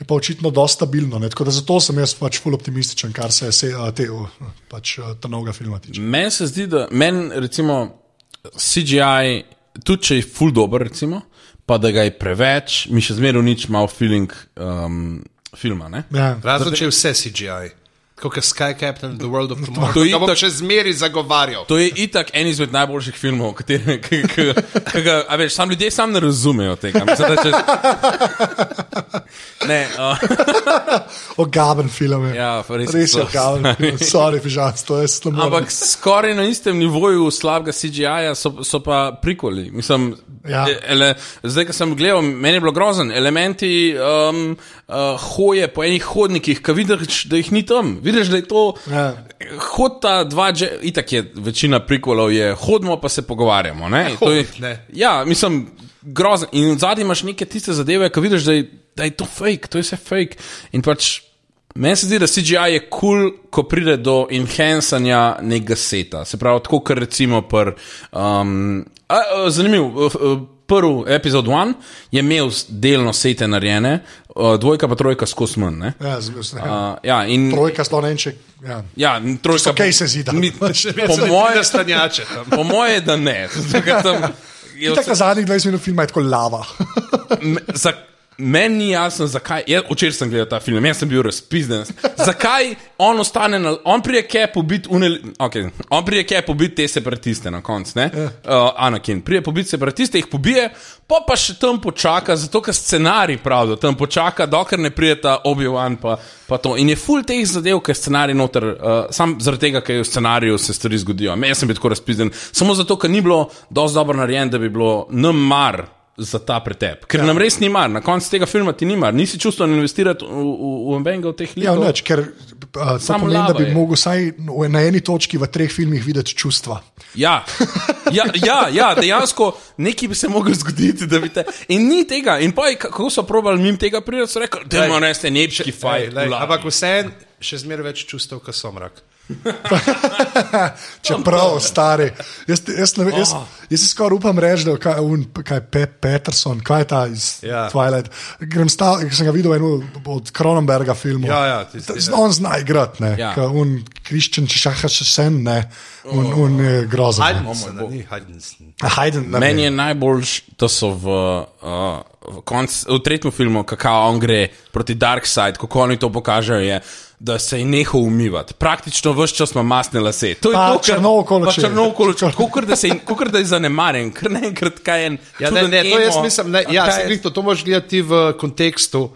je pa očitno dosti stabilno. Ne, tako da zato sem jaz pač full optimističen, kar se, se a, te, o, pač, a, trnovega filma tiče. Meni se zdi, da meni recimo CGI, tudi če je full dober, recimo, pa da ga je preveč, mi še zmeraj nič malo feeling um, filma. Ne? Ja. Razen če je vse CGI, kot je Sky Captain, The World of Tomorrow. To To je je itak- še zmeri zagovarjal. To je itak en izmed najboljših filmov, katere, k, k, k, k, a veš, sam ljudje sam ne razumejo tega. Mislim, da če... Ne, uh, Ogaben film je. Ja, res je res je to. ogaben film. Sorry, pižac, to je slabo. ampak skoraj na istem nivoju slabega CGI-ja so, so pa prikoli. Mislim, Ja. ja. ele, zdaj, ko sem gledal, meni je bilo grozen. Elementi um, uh, hoje po enih hodnikih, ki vidiš, da jih ni tam. Vidiš, da je to. Ja. Hodta dva, dže, itak je večina prikolov, je hodimo pa se pogovarjamo. Ne? Ja, hodnik, ne. ja mislim, grozen. In zadnji imaš neke tiste zadeve, ki vidiš, da je, da je to fake, to je vse fake. In pač. Meni se zdi, da CGI je kul, cool, ko pride do enhancanja nekega seta. Se pravi, tako kot recimo pri. Um, a, a, zanimiv, uh, uh, prvi epizod One je imel s- delno sete narejene, uh, dvojka pa trojka skozi manj. ne. Ja, zelo uh, Uh, ja, in Trojka, slon en če. Ja. Ja, n- trojka. So case zida. Mi- Še vedno Po so moje, da stanjače tam. po moje, da ne. Zato, ker tam je Tako vse- na zadnjih 20 minut filma je tako lava. me- za- Meni ni jasno, zakaj. Jaz, včeraj sem gledal ta film, jaz sem bil razpizden. Zakaj on ostane, na, on prije kepu biti, okay, on prije kepu biti te separatiste na koncu, ne? Uh, Anakin, prije pobiti separatiste, jih pobije, pa pa še tam počaka, zato ker scenarij pravi, da tam počaka, dokler ne prijeta Obi-Wan pa, pa to. In je full teh zadev, ker je scenarij noter, uh, sam zaradi tega, ker je v scenariju se stvari zgodijo. Me, jaz sem bil tako razpizden, samo zato, ker ni bilo dovolj dobro narejen, da bi bilo nam mar za ta pretep. Ker ja. nam res ni mar, na koncu tega filma ti ni mar, nisi čustvo investirati v, v, v enega od teh Ja, likov. nič, ker uh, to Samo pomeni, da lava bi je. lahko vsaj v- na eni točki v treh filmih videl čustva. Ja, ja, ja, ja dejansko nekaj bi se lahko zgodilo, da bi te. In ni tega. In pa, kako so probali mim tega priti, so rekli, da imamo res nebški Ej, fajn. lej, Ampak vseeno, še zmeraj več čustev, kot somrak. Čeprav, stari. Jaz, jaz, ne, vem, jaz, jaz si skoraj upam reči, da je kaj, un, kaj Pe, Peterson, kaj je ta iz ja. Ja. Twilight. Grem stal, ker sem ga videl v enem od Kronenberga filmov. Ja, ja, tisti, Ta- ja. On zna igrati, ne. Ja. Ja. Un Kriščen, če šaha še sen, ne. Un, un je grozen. Hajdensen, ni Hajdensen. ne. Hayden, ne Meni je vem. najboljš, da so v, uh, v, konc, v tretjem filmu, kako on gre proti Dark Side, kako oni to pokažejo, je, da se je nehal umivati. Praktično vse čas ima masne lase. To je Pa to, kar- črno okolo pa čez. Črno okoloče, kot da, se je- kakor da je zanemaren, ker naenkrat kaj en. Ja, ne, čuden ne, to jaz emo- mislim, ne, ja, kaj se je- glih to, to moš gledati v kontekstu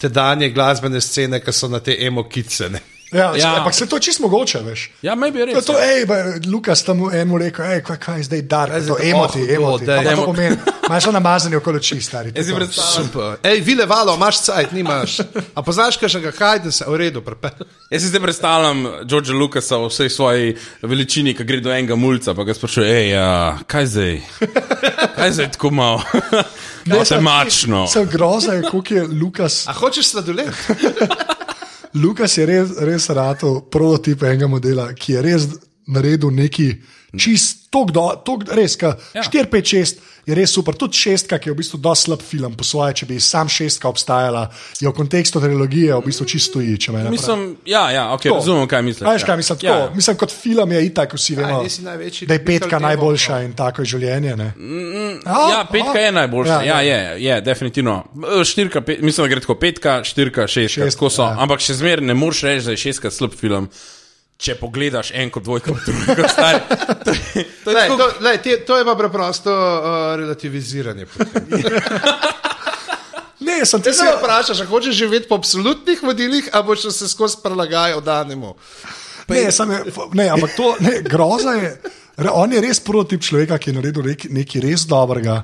tedanje glasbene scene, ki so na te emo kicene. Ja, ja. Ja. Ampak se to je čisto mogoče, veš. Ja, me bi To, res. to, ej, ba, Lukas tam enemu rekel, ej, kaj, kaj je zdaj dar, Kaj je to zdaj- emoti, oh, hudo, emoti. daj, Kaj pa to emo- pomeni? Imaš so namazani okoli oči, stari. to Jaz si to. predstavljam. Super. Ej, vile valo, imaš cajt, nimaš. A poznaš kakšnega Hajdensa, v redu, prepe. Jaz si zdaj predstavljam Georgea Lucasa v vsej svoji veličini, ki gre do enega mulca, pa ga sprašuje, hej, ja, kaj zdaj? Kaj zdaj tako malo? Ne, sem- Matemačno. Sem grozen, koliko je Lukas. A hočeš sladoled? Lukas je res, res ratov prototip enega modela, ki je res naredil neki čist, tok do, tok, res, ka, ja. 4, 5, 6 je res super. Tudi šestka, ki je v bistvu dosti slab film po svoje, če bi sam šestka obstajala, je v kontekstu trilogije v bistvu čisto stoji. če me ne prav. Mislim, ja, ja, okay, razumem, kaj misliš. Veš, kaj mislim, tako, Ja. ja. mislim, kot film je itak, vsi vemo, nisi največji da je petka ljubitelj tega, najboljša in tako je življenje. Ne? Ja, petka je najboljša. Ja, je, je, definitivno. E, Štirka, pet, mislim, da gre tako petka, štirka, šestka. Šest, Šest, so, ja. ja. Ampak še zmeraj ne moreš reči, da je šestka slab film. Če pogledaš enko, dvojko, trojko, stari. To je- to je Lej, tako- to, lej, te, to je pa preprosto uh, relativiziranje. Ne, sem Te te se vprašaš, a hočeš živeti po absolutnih vodilih, ali boš se skozi prilagajal danemu? Ne, sam je, ne, ampak to ne, groza je. re- On je res prototip človeka, ki je naredil nek, nekaj res dobrega,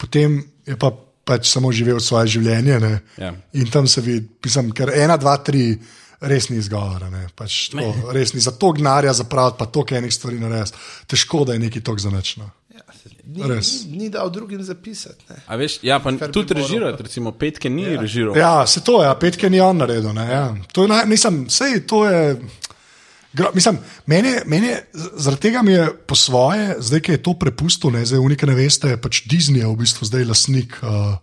potem je pa pač samo živel svoje življenje. Ne? Ja. In tam se vidi, pisem, ker ena, dva, tri. Res ni izgovora, ne, pač to, res ni za to gnara, za prav, pa to, kaj enih stvari narediti. Težko, da je neki tok zanačno. Ja, ni, no. Res. ni, ni dal drugim zapisati. Ne. A veš, ja, pa bi tudi moral. režirati, recimo petke ni ja. režiral. Ja, se to je, ja, petke ni on naredil. Ne, ja. to je, naj- mislim, sej, to je, gro- mislim, mene, mene, z- zaradi tega mi je po svoje, zdaj ki je to prepustil, ne, zdaj unika ne veste, pač Disney je v bistvu zdaj lastnik uh,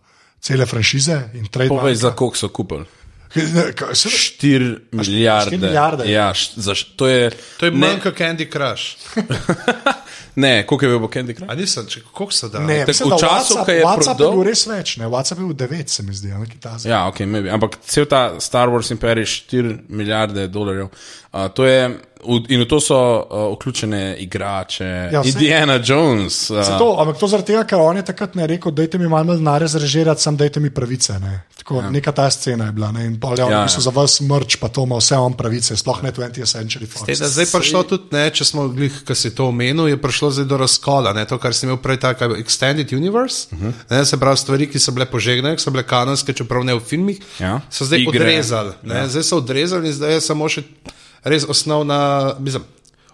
cele franšize in Povej, trademark. za koliko so kupili. Ne, kaj- se- 4 milijarde. milijarde? Ja, š, za, š- to je. To je ne, manj kot Candy Crush. ne, koliko je bil bo Candy Crush? A nisem, če- koliko so dali? Ne, Tako mislim, v da času, WhatsApp- ko je WhatsApp je prodal- bil res več, ne, WhatsApp je bil 9, se mi zdi, ali kaj takega. Ja, ok, maybe. ampak cel ta Star Wars imperij 4 milijarde dolarjev. Uh, to je, v- in v to so uh, vključene igrače, Ja, ja, vse- Indiana Jones. Uh, To, ampak to zaradi tega, ker on je takrat ne rekel, da je mi malo denarja zrežirati, sam dajte mi pravice. Ne. Tako, ja. Neka ta scena je bila. Ne. In pol je on, Ja, ja. ja, v bistvu za vas mrč, pa to ima vse on pravice, sploh ne 20th century Fox. Teda, zdaj je prišlo tudi, ne, če smo glih, ki si to omenil, je prišlo zdaj do razkola. Ne, to, kar si imel prej, tako Extended Universe, Mhm. uh -huh. ne, se pravi stvari, ki so bile požegnane, ki so bile kanonske, čeprav ne v filmih, Ja. so zdaj Igre. Igre. odrezali. Ne, ja. Zdaj so odrezali in zdaj je samo še res osnovna, mislim,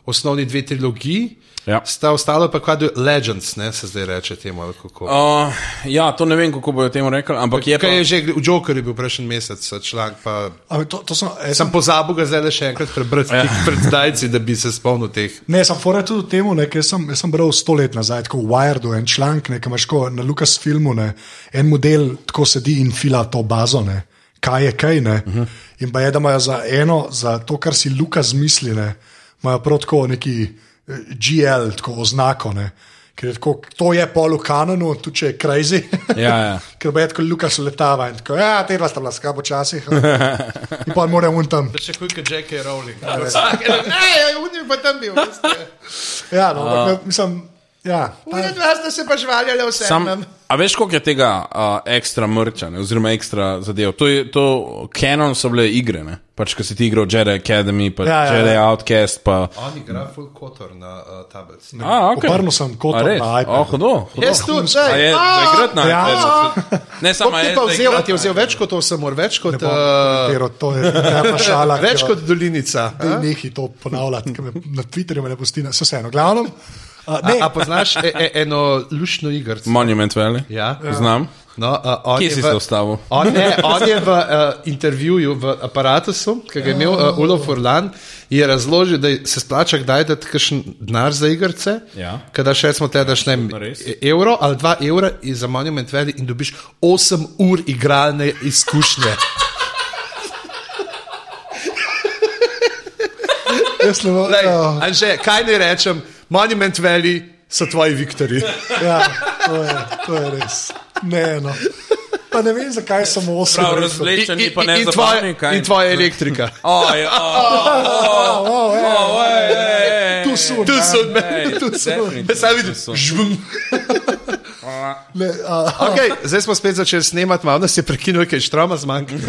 osnovni dve trilogiji. Ja. Sta ostalo pa kvadu Legends, ne se zdaj reče temu. ali kako. uh, ja, to ne vem, kako bojo temu rekli, ampak je pa. Kaj je že v Jokerju bil prejšnji mesec, članek pa. Ampak to, to sem, eh, Sem pozabil ga zdaj le še enkrat prebrati, Ja. tik pred zdajci, da bi se spomnil teh. Ne, sem fora tudi temu, ne, ker sem, jaz sem bral sto let nazaj, tako v Wiredu, en članek, ne, ki imaš ko na Lukas filmu, ne, en model tako sedi in fila to bazo, ne, kaj je kaj. Ne, uh -huh. In pa je, da imajo za eno, za to, kar si Lukas misli, ne, imajo prav tako neki eh, GL, tako oznako. Ne, ker je tako, to je pol v kanonu, tudi če je crazy. Ja, ja. ker bo je tako Lukas letava in tako, ja, te dva sta bila skabo včasih. In pa mora un tam. Še kuj, kot J.K. Rowling. Ne, unijo pa tam bil. Ja, no, ampak, mislim, ja, ta- Unijo dva ste se pa žvaljali vse. Sam, a veš, koliko je tega uh, ekstra mrča, ne, oziroma ekstra zadev? To, je, to Canon so bile igre, ne? pač, ko si ti igral Jedi Academy, pa Ja, ja, ja, ja, Jedi Outcast. Pa... On igra full kotor na uh, tablici. A, okay. Obrnil sem kot A, res? na iPad. Oh, hudo, hudo. Jaz tudi, Ja, A zdaj. je za igrati na Ja. iPadu. Ne samo Sam ti je. pa za vzel, a igrati ti je na vzel več kot 8 ur, več kot, Bom uh, komentiral, To je ena šala. ki več jo- kot Dolinica. Daj Nehi to ponavljati, ker me na Twitterju me ne pusti, na- saj vseeno. Glavno, A, a poznaš e, e, eno lušno igrico? Monument Valley. Ja. Znam. No, uh, on Kje je si v- se ustavil? On je, on je v uh, intervjuju v aparatu, ki ga je imel uh, Ulo Furlan, je razložil, da se splača kdaj dati kakšen denar za igrice. Ja. Kada še smo te daš ne vem, Res? e- evro ali dva evra in za Monument Valley in dobiš 8 ur igralne izkušnje. jaz ne vem, Lej, ja, Anže, kaj naj rečem, Monument Valley so tvoji viktori. ja, to, je, to je res. Ne, no. Pa ne vem, zakaj sem osem. Prav rekel. razvlečen, in, pa ne in, zabavni, tvoje, kaj? in tvoja elektrika. Oj, O, o, ej, Tu so, Tu so Ej, me, tu so definitivno me. Sam vidim, tu so. žvum. ne, a, Okay, zdaj smo spet začeli snemati, malo nas je prekinulo, ker je štroma zmanjkalo.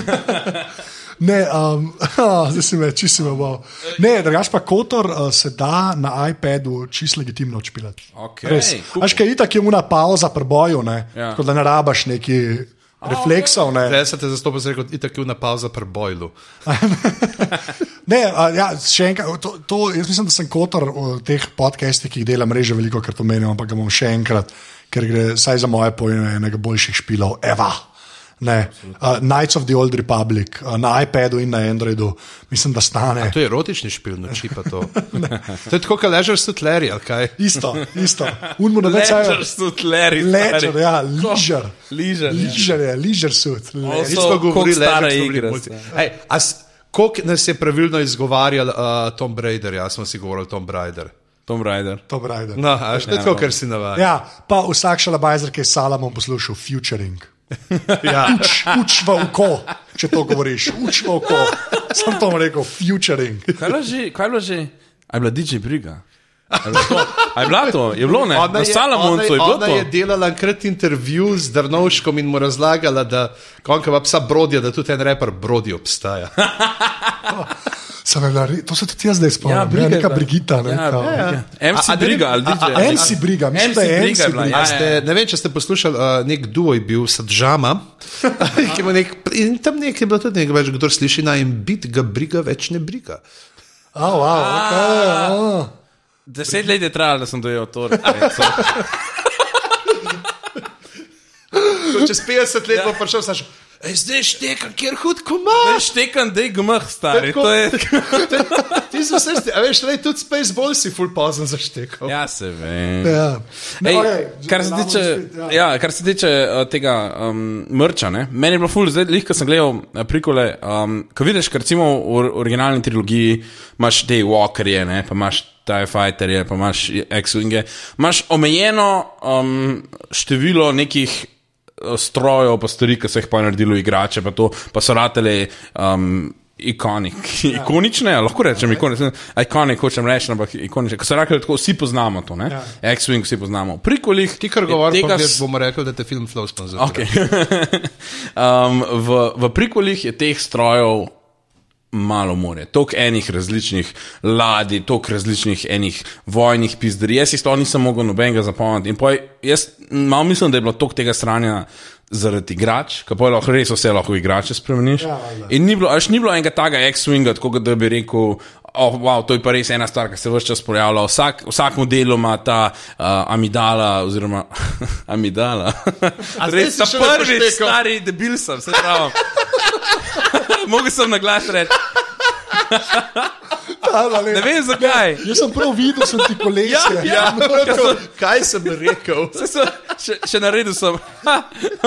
ne um, a, zdaj si me, čisi me bo. Ne, drugač pa Kotor uh, se da na iPadu čist legitimno odšpilati. Okej, Res. cool. Až kaj itak je una pauza pri boju, ne, Ja. tako da ne rabaš neki refleksov. Ne. Zdaj se te zastopa, zdaj kot itak je na pauza pri bojlu. Ne, a, ja, še enkrat, to, to, jaz mislim, da sem kotor v teh podcestih, ki jih delam, reže veliko krat omenil, ampak ga bom še enkrat, ker gre vsaj za moje pojme enega boljših špilov, Eva. Ne, uh, Knights of the Old Republic uh, na iPadu in na Androidu, mislim, da stane. To je erotični špil, noči pa to. to je tako, kot ležeš svetleri, ali kaj? Isto, isto. Unmo ne več. Ležer, sutleri. Ležer, ja, ližer. Ližer, ja. Ližer je, ližer sud. Also- Nismo koliko govorili stara ležeš je igra, svetleri. Ej, a s- Koliko nas je pravilno izgovarjal uh, Tom Brady, jaz sem si govoril Tom Brady. Tom Rider. Dobro, ajde. No, a veš, to je tako, kar si navaden. Ja, pa vsak šalabajzer, ki je salamom poslušal, futuring. Ja. uč, uč v oko, če to govoriš, uč v oko. Sem to rekel, futuring. Kaj je bilo že? Kaj je bilo že? A je bila DJ Briga? A je bilo to? A je bilo to? Je bilo ne? Ona Na je, ona, Salamoncu je je, bilo ona to? je delala enkrat intervju z Drnovškom in mu razlagala, da konka pa psa brodijo, da tudi en reper brodi obstaja. Sem bila re- To se tudi jaz zdaj spomnim. Ja, ne, Briga je neka bila. Brigita. Ne, Ja, kao. ja. MC A- a ne- Briga ali a- a- DJ. a MC Briga, mislim, MC da je Briga MC bila, Briga. ja, A ja, ja. Ste, ne vem, če ste poslušali, uh, nek duo je bil Sadžama. ki je bil nek, in tam nek je bilo tudi nekaj več, kdo sliši na en bit, ga briga, več ne briga. A, wow, no, ja. okay, a. Deset let je trajalo, da sem dojel to. recimo. Ko čez 50 let ja. bo prišel, saš, zdaj šteka, kjer hud komaš. Štekam, da je gmah, stari. Tako. To je... Ti si vse, a veš, le tudi Spaceball si full pozen zaštekal. Ja, se vem. Ja. No, Ej, okej, kar se zamenjamo tiče, spet, ja. ja, kar se tiče uh, tega um, mrča, ne? meni je bilo ful, zdaj, lih, ko sem gledal uh, prikole. Um, ko vidiš, ker recimo v or- originalni trilogiji imaš te walkerje, ne? pa imaš TIE fighterje, pa imaš X-Winge, imaš omejeno um, število nekih eh, strojev, pa stvari, ki so jih pa naredili igrače, pa to, pa so ratele. Um, Ikonik, ja. ikonične, ali lahko rečem, okay. ikonične, ikonik, hočem reči, ampak ikonične. Ko so rekli, tako vsi poznamo to, ne? Ja. X-Wing vsi poznamo. Pri kolih. Ti, kar govoriš, tega tega... s- bomo rekli, da te film flow sponzorira. Okay. um, v, v prikolih je teh strojev malo more, toliko enih različnih ladij, toliko različnih enih vojnih pizderij. Jaz isto nisem mogel nobenega zapomniti. In poj, jaz malo mislim, da je bilo toliko tega stranja zaradi igrač, ki pa lahko res vse lahko v igrače spremeniš. Ja, valjda. In ni bilo, až ni bilo enega taga X-Winga, tako kot da bi rekel. Oh, wow, to je pa res ena stvar, ki se vse čas pojavlja. Vsak, vsak model ima ta uh, amidala, oziroma amidala. A zdaj res si sem šele prvi, poštekal? stari debil sem, se pravi. Mogel sem na glas reči. Ala, le. Ne vem zakaj. Jaz sem prav videl, sem ti kolesje. Ja, Rekel, Kaj sem rekel? Saj sem, še, še naredil sem. Ha,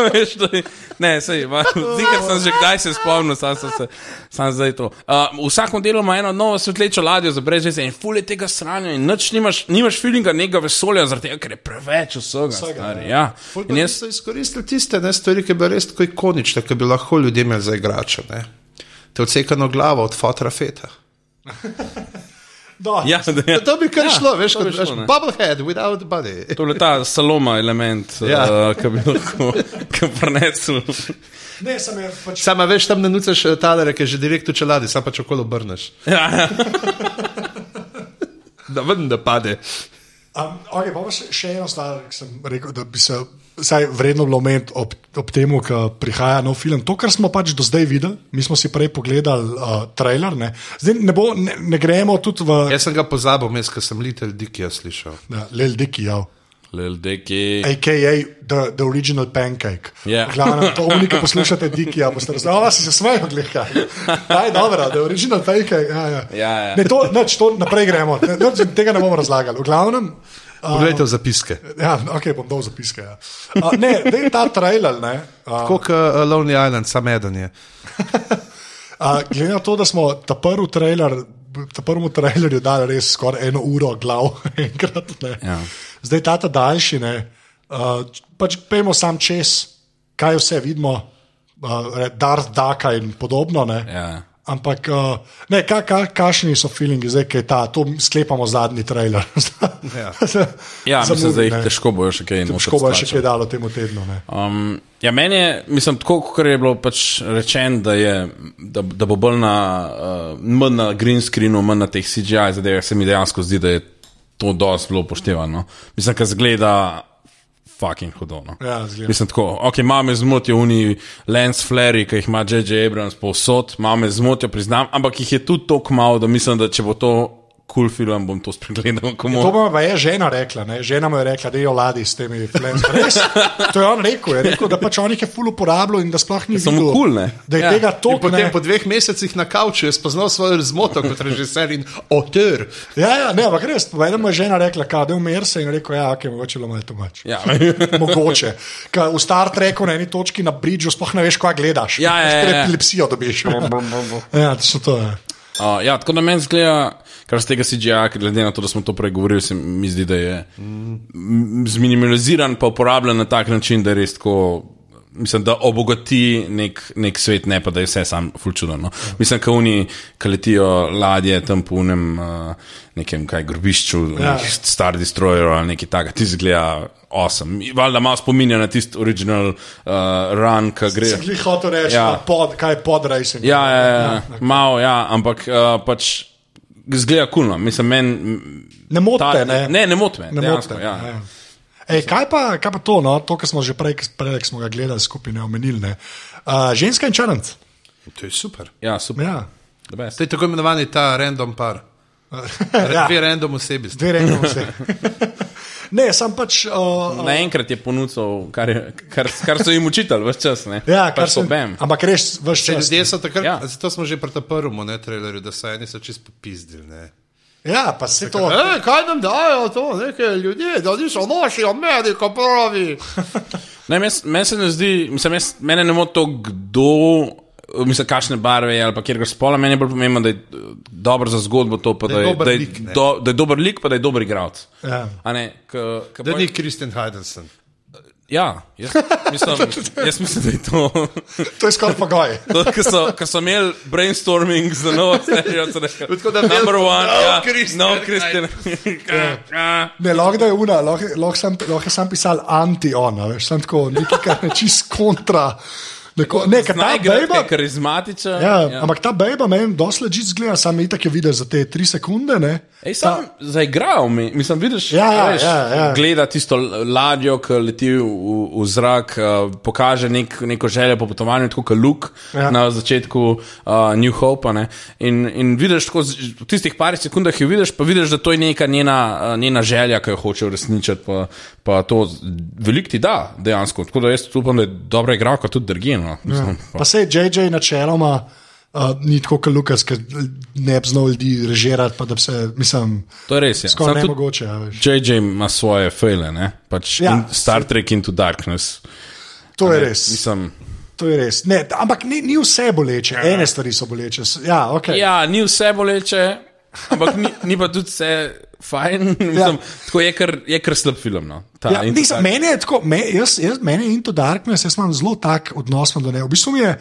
veš, to je- ne, sej, zikar sem že kdaj se spomnil, sam sem se, sam zdaj to. Uh, v vsakem delu ima eno novo svetlečo ladjo za brez veze in fulje tega sranja in nič nimaš, nimaš feelinga nekega vesolja, zaradi tega, ker je preveč vsega. Vsega, stari, ja. Pol pa In jaz niso izkoristili tiste ne, stvari, ki bi bile res tako ikonične, ki bi lahko ljudem imeli za igrače. Ne. Te odsekano glavo od fotra feta. Da, Ja, da, ja. To bi kar ja, šlo, veš, to bi kot šlo, rečeš, ne. bubblehead without body. To je bil ta saloma element, ja. Ja. uh, ki bi lahko ki prenesel. Ne, sem jaz pač. Sama veš, tam ne nucaš eh, talere, ki je že direkt v čeladi, sam pač okolo obrneš. Ja. Da ven, da pade. Um, okay, pa pa še, še eno stvar, ki sem rekel, da bi se vsaj vredno bilo omeniti ob, ob tem, ko prihaja nov film. To, kar smo pač do zdaj videli, mi smo si prej pogledali uh, trailer. Ne? Zdaj ne, bo, ne, ne gremo tudi v Jaz sem ga pozabil, jaz, ker sem Little Dickija slišal. ja, Leldiki, ja. Lil Dicky. a.k.a. The, the original pancake. Ja. Glavno, to unika poslušate, Dikija, boste razumeli, "A, si se smejo gleka. Aj, dobro, the original pancake. Ja, ja. Ja, ja. Ne, to, nič, to naprej gremo, ne, nič, tega ne bomo razlagali. V glavnem, Poglejte v zapiske. Ja, ok, bom dal zapiske. Ja. A, ne, da je ta trailer. Ne, a, Kot uh, Lonely Island, sam eden je. a, glede na to, da smo ta prvi trailer. Ta prvemu trailerju dal res skoraj eno uro glav, enkrat. Ja. Ja. Zdaj ta ta daljši, ne, uh, pač pojmo sam čez, kaj vse vidimo, uh, Darth Daka in podobno. Ne. Ja. Ampak, uh, ne, ka, ka, kakšni so feelingi zdaj, kaj je ta, to sklepamo zadnji trailer. Ja. Ja, Za mislim, da jih movie, ne. težko bojo še kaj naučili. Težko bo še kaj dalo temu tednu. Ne. Um, ja, meni je, mislim, tako kot je bilo pač rečeno, da, je- da, da bo bolj na, uh, manj na green screenu, manj na teh CGI zadevah, se mi dejansko zdi, da je to dosti bilo upoštevano. Mislim, kar zgleda. Fucking hudo. No. Ja, zgleda. Mislim tako, ok, malo me zmotijo oni lens flari, ki jih ima J.J. Abrams povsod, malo me zmotijo, priznam, ampak jih je tudi tako malo, da mislim, da če bo to kul cool film, bom to spregledal. komu- To pa je žena rekla, ne? žena mu je rekla, da je oladi s temi flenskami. Res, to je on rekel, je rekel, da pač on jih je ful uporabljal in da sploh ni so mu videl, kul, ne? Da je Ja. ja. tega In toliko. potem ne. po dveh mesecih na kavču je spoznal svojo zmoto kot režiser in oter. Ja, ja, ne, ampak res, povedal mu je žena rekla, kao, da je umir se in je rekel, ja, ok, mogoče je bilo malo to mač. Ja. Mogoče. Ka v Star Treku na eni točki na bridžu sploh ne veš, kaj gledaš. Ja, ja, ja, ja. Ker epilepsijo dobiš. Ja, točno to je. Uh, ja, tako da meni zgleda, kar se tega CGI, ker glede na to, da smo to prej govorili, se mi zdi, da je mm. zminimaliziran, pa uporabljen na tak način, da je res tako. mislim, da obogati nek, nek svet, ne pa da je vse sam fulčudno. No. Mislim, kot oni, ki letijo ladje tam po unem uh, nekem kaj grobišču, Ja. ja. star destroyer ali nekaj takega, ti zgleda osem. Valjda malo spominja na tisti original uh, run, ki gre. Sem jih hotel reči, Ja. ja. pod, kaj je podrajsen. Ja, ja, ja, ja. malo, ja, ampak uh, pač zgleda kulno. Cool, no. mislim, meni. Ne motite, ne. ne, ne moti me. Ne dejansko, motite, ja. ja. Ej, kaj, pa, kaj pa to, no? to, kar smo že prej, prej ko smo ga gledali skupaj, ne omenili. Ne? Uh, ženska in črnc. To je super. ja, super. Ja. Ja. To je tako imenovani ta random par. Ja. ja, Dve random osebi. sta. dve rekli vse. ne, sem pač. Uh, Naenkrat je ponudil, kar, je- kar, kar so jim učitelj vse čas. Ne? ja, kar kar Pač so sem. bem. Ampak res, veš, Če če Ljudje so takrat, Ja. ja. zato smo že pri tem prvem ne, trailerju, da so eni so čist popizdili. ne. Ja, pa se to. E, kaj nam dajo to, neke ljudje, da niso noši, Amerika pravi. Ne, mes, mes ne zdi, mislim, mes, mene ne moti to, kdo, mislim, kakšne barve je ali pa kjer ga spola. Meni je bolj pomembno, da je eh, dobro za zgodbo to, pa da, je, dober da, je, lik, ne. do, da je dober lik, pa da je dober igralec. Ja. A Ne, k, k, Da ni Kristjan Heidensen. Ja, jaz mislim, jaz mislim, da je to. To je skoraj pogoj. To, Ker so, ker so imeli brainstorming za novo serijo, so rekli: Tako da Number vel- one, No, ja, Christian, no, kaj- Kristjan. Ja, Ne, lahko da je una, lahko lahko sam- lahko je sam pisal anti-on, a veš, sem tako nekaj, kar je čist kontra. Neko, ne, ker ta Najgrej bejba, je karizmatičen. ja, ja. ampak ta bejba meni doslej že zgleda, sam itak je videl za te tri sekunde, ne. Ej, sam zaigral mi, mislim, vidiš, Ja, ja, veš, ja, ja. gleda tisto ladjo, ki leti v, v zrak, uh, pokaže nek, neko željo po potovanju, tako kot Luke ja. Ja. na začetku uh, New Hope. a ne. In, in vidiš, tako, z- v tistih parih sekundah jo vidiš, pa vidiš, da to je neka njena, uh, njena želja, ki jo hoče uresničiti. Pa, pa to veliko ti da dejansko. Tako da jaz upam, da je dobra igralka tudi drgino. Ja. Pa se JJ načeloma uh, ni tako kot Lukas, ki ne bi znal ljudi režirati, pa da bi se, mislim, To je res. Ja. skoraj Samo tudi- nemogoče. a veš. JJ ima svoje fejle, ne? pač Ja. ja, Star Trek into Darkness. To je res. Mislim, To je res. Ne, ampak ni, ni vse boleče, ene stvari so boleče. S- Ja, okay. ja, ni vse boleče, ampak ni, ni pa tudi vse fajn. Mislim, ja. Tako je kar, je kar slab film. No. Ta, Ja, Into nisem, Dark- meni je tako, me, jaz, jaz, meni je Into Darkness, jaz imam zelo tak odnos do ne. V bistvu mi je,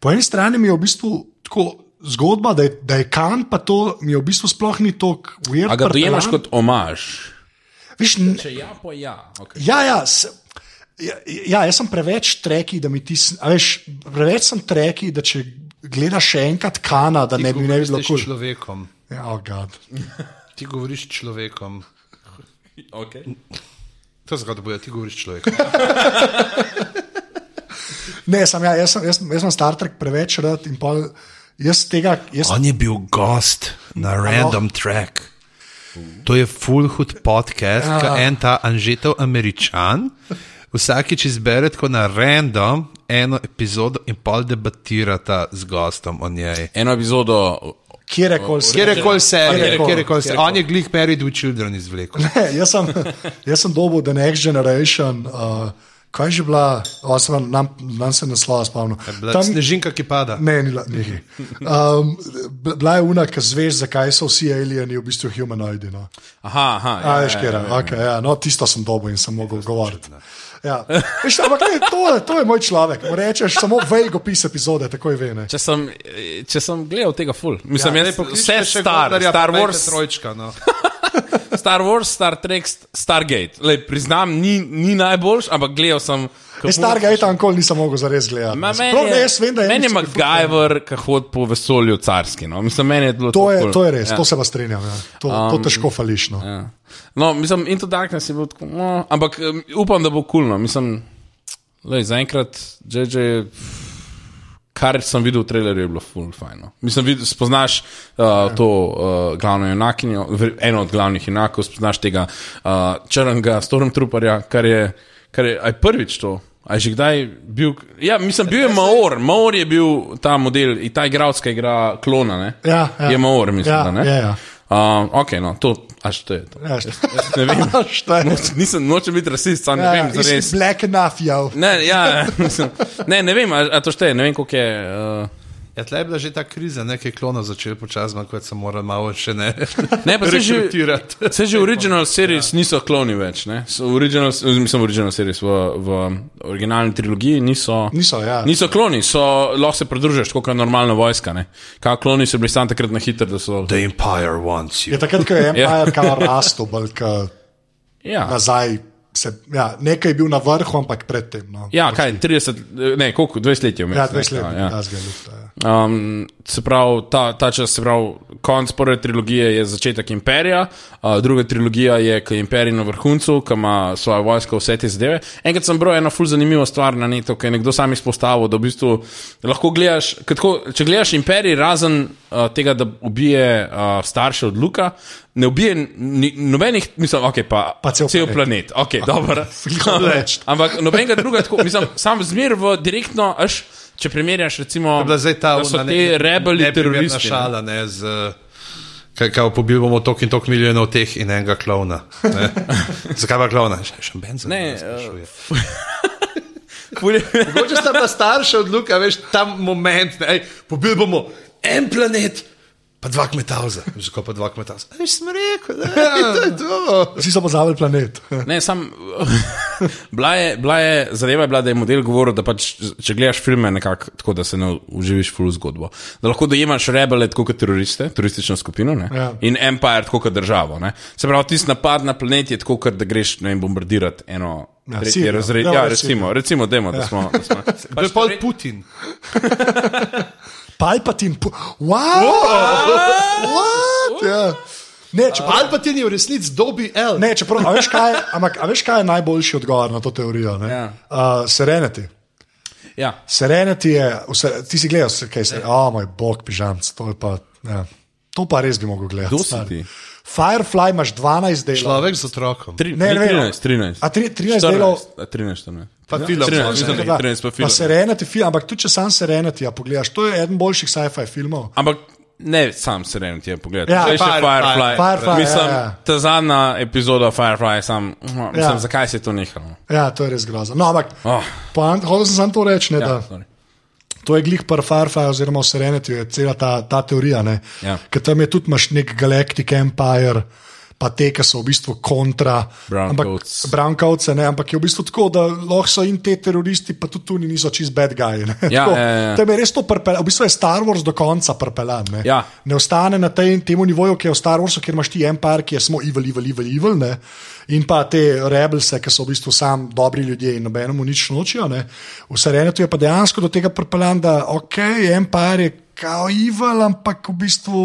po eni strani mi je v bistvu tako zgodba, da je, da je kan, pa to mi je v bistvu sploh ni tako A uvirno. ga dojemaš kot omaž? Viš, n- Če ja, pa ja. Okay. ja, ja, s, ja, ja, jaz sem preveč treki, da mi ti, s- a veš, preveč sem treki, da če gledaš še enkrat kana, da ne bi ne bilo s kul. človekom. Ja, oh, God. Ti govoriš s človekom. Okay. To je zgodba, ti govoriš s človekom. Ne, sem, ja, jaz, sem, jaz, jaz imam Star Trek preveč rad in pol, jaz tega, jaz On je bil gost na random track. To je full hood podcast, ja. ki en ta anžetov američan. Vsakič izbere tako na random eno epizodo in pol debatirata z gostom o njej. Eno epizodo. kjerkoli se. Kjerkoli serije, Kjerkoli. kjerkoli serije. On je glih Married with Children izvlekel. Ne, jaz sem, jaz sem dobil The Next Generation, uh, kaj je že bila, o, se vam, nam, nam se naslova spomnim. Tam... Snežinka, ki pada. Ne, ni nekaj. Um, b- bila je unak, ki zveš, zakaj so vsi alieni v bistvu humanoidi. No. Aha, aha. ja, A, veš, kje je. Okay, ja, no, tisto sem dobil in sem mogel govoriti. Ja. Veš, ampak ne, to, je- to je moj človek. Mu rečeš samo vejgo pis epizode, takoj ve. Ne. Če sem, eh, če sem gledal tega full, mislim, Ja, ja, vse star, Gondarja, Star pa dajte Wars, Trojčka, no. Star Wars, Star Trek, Stargate. Lej, priznam, ni, ni najboljši, ampak gledal sem. kako- Jaz starega je tam nikoli nisem mogel zares gledati. Ma, meni Prav ne, je- jaz vem, da je Meni je nič- MacGyver, ki hod po vesolju carski. No, mislim, meni je bilo To ful. je, to je res, ja. to se pa strinjam. Ja. To, um, to težko fališ. No. Ja. No, mislim, Into Darkness je bil tako. No, ampak em, upam, da bo kulno. Mislim, lej, zaenkrat, JJ, kar sem videl v trailerju, je bilo full fajno. Mislim, vid, spoznaš uh, to uh, glavno junakinjo, ver- eno od glavnih junakov, spoznaš tega uh, črnega stormtrooperja, kar je, kar je aj prvič to. A je že kdaj bil? Ja, mislim, bil je Maor. Maor je bil ta model, in ta igralec, ki igra klona. Ne? Ja, ja. Je Maor, mislim. Ja, da, ne? ja, ja. Um, ok, no, to, až to je to. Ja, št- Jaz Ne vem, A, šta je? Noč, nisem, nočem biti rasist, sam ne Ja, vem, ja, za res. Is black enough, yo. Ne, ja, mislim, ne, ne vem, a, a to šteje, ne vem, koliko je. Uh, Ja, tle je bila že ta kriza, nekaj klonov začel počasi manjkati, sem moral malo še ne. Ne, pa se že, Rekrutirati. se že original series niso kloni več, ne? So Original, mislim, original series v, v originalni trilogiji niso. Niso, ja. Niso kloni, so, lahko se pridružiš, kot je normalna vojska. Ne? Kaj kloni so bili samo takrat na hitro, da so. The Empire wants you. Je takrat, ko je Empire kao rastel, bolj kot Ja, nazaj. Se, ja, nekaj je bil na vrhu, ampak predtem. No. ja kaj, 30, ne, koliko, 20 let je vmes. ja ne, 20 let kao, je ja. zgolj. Um, se pravi, ta, ta čas, se pravi, konc prve trilogije je začetek imperija, uh, druga trilogija je, ki je imperij na vrhuncu, ki ima svojo vojsko, vse te zadeve. Enkrat sem bral eno ful zanimivo stvar na netu, ki je nekdo sam izpostavil, da v bistvu lahko gledaš, ke tako, če gledaš imperij, razen uh, tega, da ubije uh, starše od Luka, ne ubije ni, nobenih, mislim, ok, pa, Pa cel planet. planet. Ok, dobro. Slišal reči. Ampak nobenega druga, tako, mislim, sam zmer v direktno, až, če primerjaš recimo. Je bila zdaj ta da so ona ti neka rebeli neprimerna teroristi. ne. šala, ne, z, eh, kaj, kaj pobil bomo tok in tok milijonov teh in enega klovna. ne. Zakaj pa klovna? Še, še ben za Ne, eh, ne. sprašuje. Ful je- Mogoče sta bila starša od Luka, veš, ta moment, ne, ej, pobil bomo en planet. Pa dva kmetavza, zakaj pa dva kmetavza? A Veš, sem rekel, da Ja. to je to. Vsi so poznali planet. Ne, sam, bila je, bila je, zadeva je bila, da je model govoril, da pač, če gledaš filme nekako tako, da se ne uživiš full zgodbo. Da lahko dojemaš rebele tako kot teroriste, turistično skupino ne? Ja. in empire tako kot državo. Ne? Se pravi, tisti napad na planet je tako, kot da greš ne vem, bombardirati eno. Ja, Ja, Sirijo. razred, Ja, ja, recimo, recimo. recimo demo, da smo. Da smo Pač To je pol Putin. Palpatin, pu wow! What? Ja. Ne, če pa. Palpatin je v resnici dobi L. Ne, čeprav, a veš, kaj, je- ampak, a veš, kaj je najboljši odgovor na to teorijo? Ja. Ja. Uh, serenity. ja. Serenity je, vse, ti si gledal, se- kaj se reče, o oh, moj bog, pižamc, to je pa. Ja. To pa res bi mogel gledati. Kdo si stari. ti? Firefly imaš 12 delov. Človek z otrokom. Tri, Ne, ne, ne vem. 13, 13. A tri- 13 delov- 13, 14. Pa film. 13, mislim, da Ja, jih da. 13 pa Pa film. Serenity film, ampak tudi če sam Serenity ja, pogledaš, to je eden boljših sci-fi filmov. Ampak ne sam seren ti je pogled. Ja, Ja, še Firefly. Firefly. Firefly, mislim, ja, ja. ta zadnja epizoda Firefly, sam, mislim, ja. zakaj se je to nehalo? Ja, to je res grozno. No, ampak Oh, poant- hotel sem samo to reči, ne, ja. da sorry. To je glih par Firefly, oziroma Serenity, je cela ta, ta teorija. ne. Ja. Ker tam je tudi imaš nek Galactic Empire, pa te, ki so v bistvu kontra. Browncoats. Brankovce, ne, ampak je v bistvu tako, da lahko so in te teroristi, pa tudi tu niso čist bad guy. ne. Ja, tako, ja, ja. Tam je res to prepelano, v bistvu je Star Wars do konca prepelano. Ne. Ja. ne ostane na tej, temu nivoju, ki je v Star Warsu, kjer imaš ti Empire, ki je samo evil, evil, evil, evil ne. in pa te rebelse, ki so v bistvu sam dobri ljudje in nobenemu nič nočijo. Ne. V Serenatu je pa dejansko do tega prepelano, da ok, Empire je kao evil, ampak v bistvu.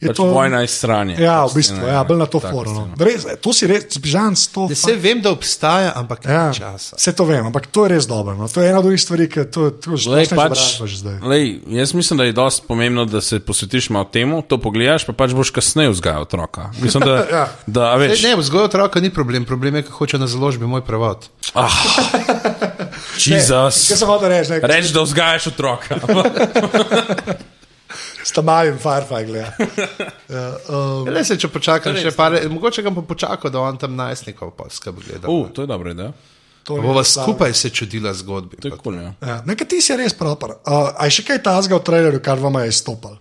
je Pač vojna iz stranje. Ja, Pač v bistvu, scena, ja, bolj na to taka forum. No. scena. Res, To si res, zbižan, to. Vse vem, da obstaja, ampak ja. Ja, ni časa. vse to vem, ampak to je res dobro. No. To je ena od tistih stvari, ki to tako Lej, že pač, pač zdaj. lej, jaz mislim, da je dosti pomembno, da se posvetiš malo temu, to pogledaš, pa pač boš kasneje vzgajal otroka. Mislim, da, ja. da a Ne, veš, ne, vzgoja otroka ni problem, problem je, kako hoče na založbi moj prevod. ah, Kaj Jezus. sem hotel reči, ne, Reč, da vzgajaš otroka. s tam malim Firefly gleda. Ja, um, Torej, Le se, če počakam še par, mogoče ga bom počakal, da on tam najstnikov pa skrb gleda. U, to je dobra ideja. to je Bova res slabo. skupaj se čudila zgodbi. To je kul, cool, ja. Ja, nekaj ti si res proper. Uh, a je še kaj tazga v traileru, kar vam je izstopal?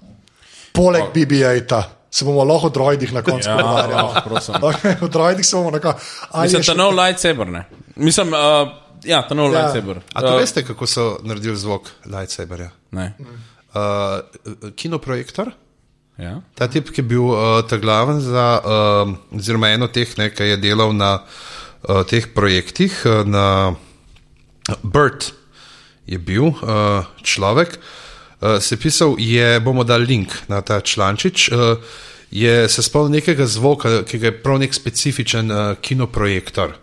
Poleg BB-8, se bomo lahko o droidih na koncu Ja, ja, prosim. pogovarjali. Okay, o droidih se bomo na koncu. Ali Mislim, je ta še- nov lightsaber. Ne? Mislim, uh, ja, ta nov ja. lightsaber. A to Uh, veste, kako so naredili zvok lightsaberja? ne. Mm. Uh, kinoprojektor? Ja. Ta tip, ki je bil uh, ta glaven za, um, oziroma eno teh, ne, ki je delal na uh, teh projektih, uh, na Bird je bil uh, človek, uh, se je pisal, je, bomo dali link na ta člančič. Uh, je se spomnil nekega zvoka, ki ga je prav nek specifičen uh, kinoprojektor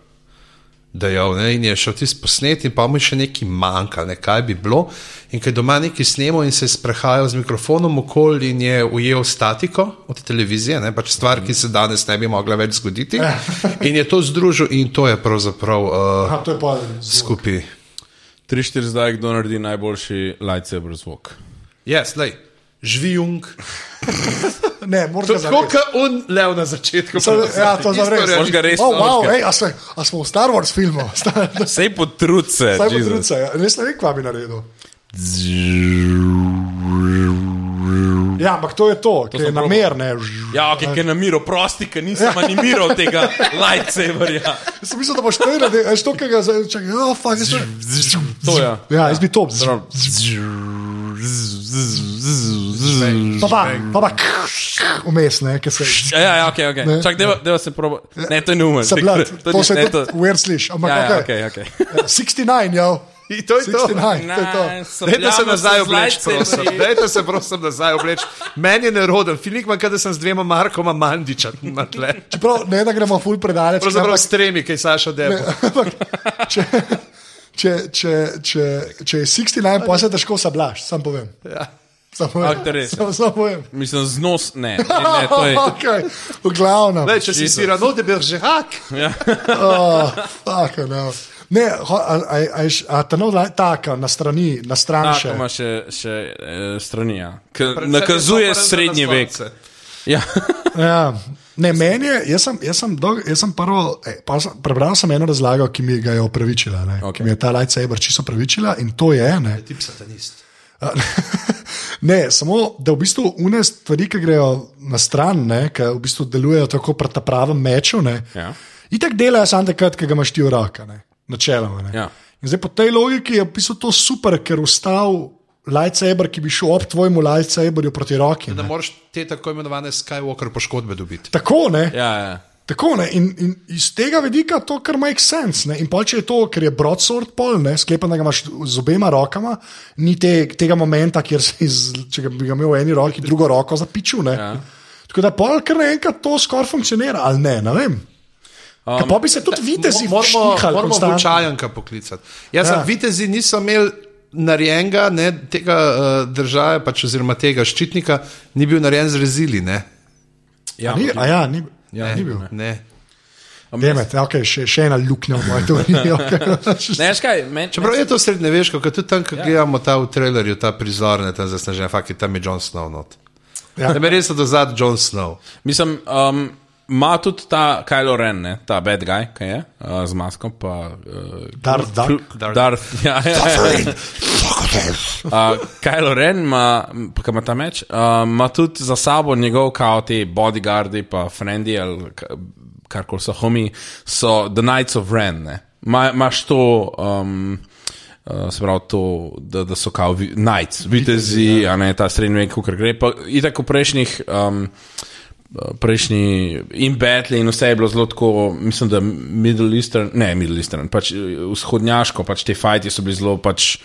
dejal. Ne, in je šel tisti posnet, in pa mu je še nekaj manjka, ne, kaj bi bilo. In ker je doma nekaj snemo in se je sprehajal z mikrofonom okoli in je ujel statiko od televizije, ne, pač stvar, ki se danes ne bi mogla več zgoditi. In je to združil, in to je pravzaprav uh, Aha, to je pa skupaj. 3-4 zdaj, kdo naredi najboljši lightsaber zvok. Ja, yes, slej. Žvijung. Ne, To morda je tako, kot un lev na začetku. Samo- ja, to je Isto res. reči. Moraš ga res Oh, wow, odkrat. ej, a, se, a smo v Star Wars filmu? Star- Sej potrud se. Saj bo ja. Jesus. druga, res ne vem, kva bi naredil. Ja, ampak to je to, ki sem je probal. namerne. Ja, ok, ker je namiral, prosti, ker nisem animiral tega lightsaberja. Sem mislil, da boš to naredil, veš, to, kar ga zdaj čaka. Ja, fakt, jaz bi- To je. Ja, jaz bi to. Pa pa, pa pa, vmes, ne, ki se. Ja, ja, ja, ok, ok. Čak, deva, deva se proba. Ne, to je neumen. Se blad, Ni- to se ne, tudi weird sliši, ampak Ja, ja, ok. ok, ok. 69, ja. In to je to. 69, to je to. Dajte se nazaj obleči, prosim. Dajte se prosim nazaj obleči. Meni je neroden. Filip ima, da sem z dvema Markoma Mandiča. na tle. Čeprav ne, da gremo full predaleč. Pravzaprav ampak- s tremi, kaj Saša dela. Ampak, če, če, če, če, če je 69, pa se težko sablaš, sam povem. Ja. Sam povem. Ah, to res je. Sam, sam povem. Mislim, znos ne. ne, ne to je, okay. V glavnem. Lej, če si Jesus. sirano, da bi že hak. Ja. Oh, fuck, no. Ne, ho- a, a, a, je š- a ta nov la- taka na strani, na stran tako še. ima še, še eh, strani. Ja. K, nakazuje srednji vek. Ja. Ja. Ne, meni je, jaz sem, jaz sem, dolg, jaz sem prvo, eh, pa sem, prebral sem eno razlago, ki mi ga je opravičila, ne, okay. Okej. ki mi je ta lightsaber čisto opravičila in to je. Ne, Tip satanist. A, Ne, samo da v bistvu une stvari, ki grejo na stran, ki v bistvu delujejo tako proti pravem meču, ne, Ja. itak delajo samo takrat, ki ga imaš ti v roki, ne, načeloma. Ne. Ja. In zdaj po tej logiki je v bistvu to super, ker ustal lightsaber, ki bi šel ob tvojemu lightsaberju proti roki. Da Ne. moraš te tako imenovane Skywalker poškodbe dobiti. Tako ne. Ja, ja. Tako, ne, in, in iz tega vidika to kar makes sense. Ne, in pol, če je to, ker je broadsword pol, ne, sklepam, da ga imaš z obema rokama, ni te, tega momenta, kjer si, iz, če ga bi ga imel v eni roki, drugo roko zapičil. Ne. Ja. Tako da pol, kar naenkrat to skoraj funkcionira, ali ne, ne vem. Um, pa bi se tudi vitezi vštihali, moramo konstantno. Vučajanka poklicati. Jaz Ja. sem vitezi nisem imel narejenega, ne, tega uh, države, pač, oziroma tega ščitnika, ni bil narejen z rezili. Ne? ja. Ni, a ja, ni, Ne, ja, ni bil. Ne. Demet, okay, še, še ena luknja v mojem teoriji. Okay. Ne, veš kaj, meni Čeprav je to srednjeveško, kot tudi tam, ko ja. gledamo ta v trailerju, ta prizor, ne tam zasnežen, fakt je tam je John Snow. Not. Ja. Ja. Da me res odozad John Snow. Mislim, um, ima tudi ta Kylo Ren, ne? ta bad guy, ki je uh, z masko. Pa, uh, Darth Dark. Darth. Darth. Ja, ja, ja. Uh, Kylo Ren ima, m, ki ima ta meč, uh, ima tudi za sabo njegov, kao ti bodyguardi, pa frendi ali k- kar koli so homi, so The Knights of Ren. ne. Ma- Imaš to. Um, Uh, se pravi, to, da, da so kao vi- knights, vitezi, a ne ta srednji vek, kar gre. Pa, itak v prejšnjih um, prejšnji in Battle in vse je bilo zelo tako, mislim, da Middle Eastern, ne Middle Eastern, pač eh, vzhodnjaško, pač te fajti so bili zelo pač.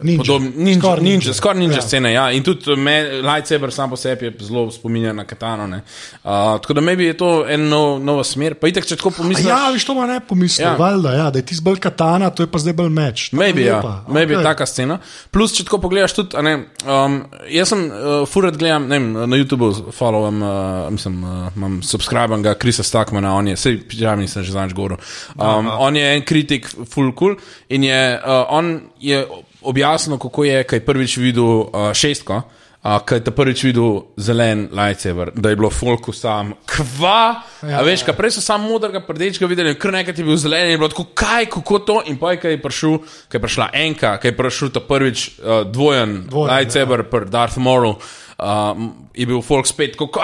Ninja. Podobno, ninja, Skoraj skoraj ninja, ninja. ninja, skor ninja Ja. ja. scene. Ja. In tudi me, lightsaber sam po sebi je zelo spominja na katano. ne. Uh, tako da mebi je to ena nov, nova smer. Pa itek, če tako pomisliš. Ja, viš to ima ne pomislil, ja. Ja. valjda, ja, da je tisti bolj katana, to je pa zdaj bolj meč. Tako Maybe, ja. lepa, Maybe okej. okay. taka scena. Plus, če tako pogledaš, tudi, a ne, um, jaz sem uh, furat gledam, ne vem, na YouTubu followam, uh, mislim, uh, imam subscriben ga Krisa Stakmana, on je, sej, ja, nisem že zanj govoril. Um, on je en kritik, full cool in je, uh, on je objasnil, kako je, kaj prvič videl uh, šestko. Uh, kaj je ta prvič videl zelen lightsaber, da je bilo folku sam, kva, Ja, ja, a veš, ka prej so samo modrega, prdečega videli, kar nekaj je bil zelen in je bilo tako, kaj, kako to. In pa je, kaj je prišel, kaj je prišla enka, kaj je prišel ta prvič uh, dvojen, Dvojen, lightsaber, ja. Darth Maul. Um, je bil folk spet, kako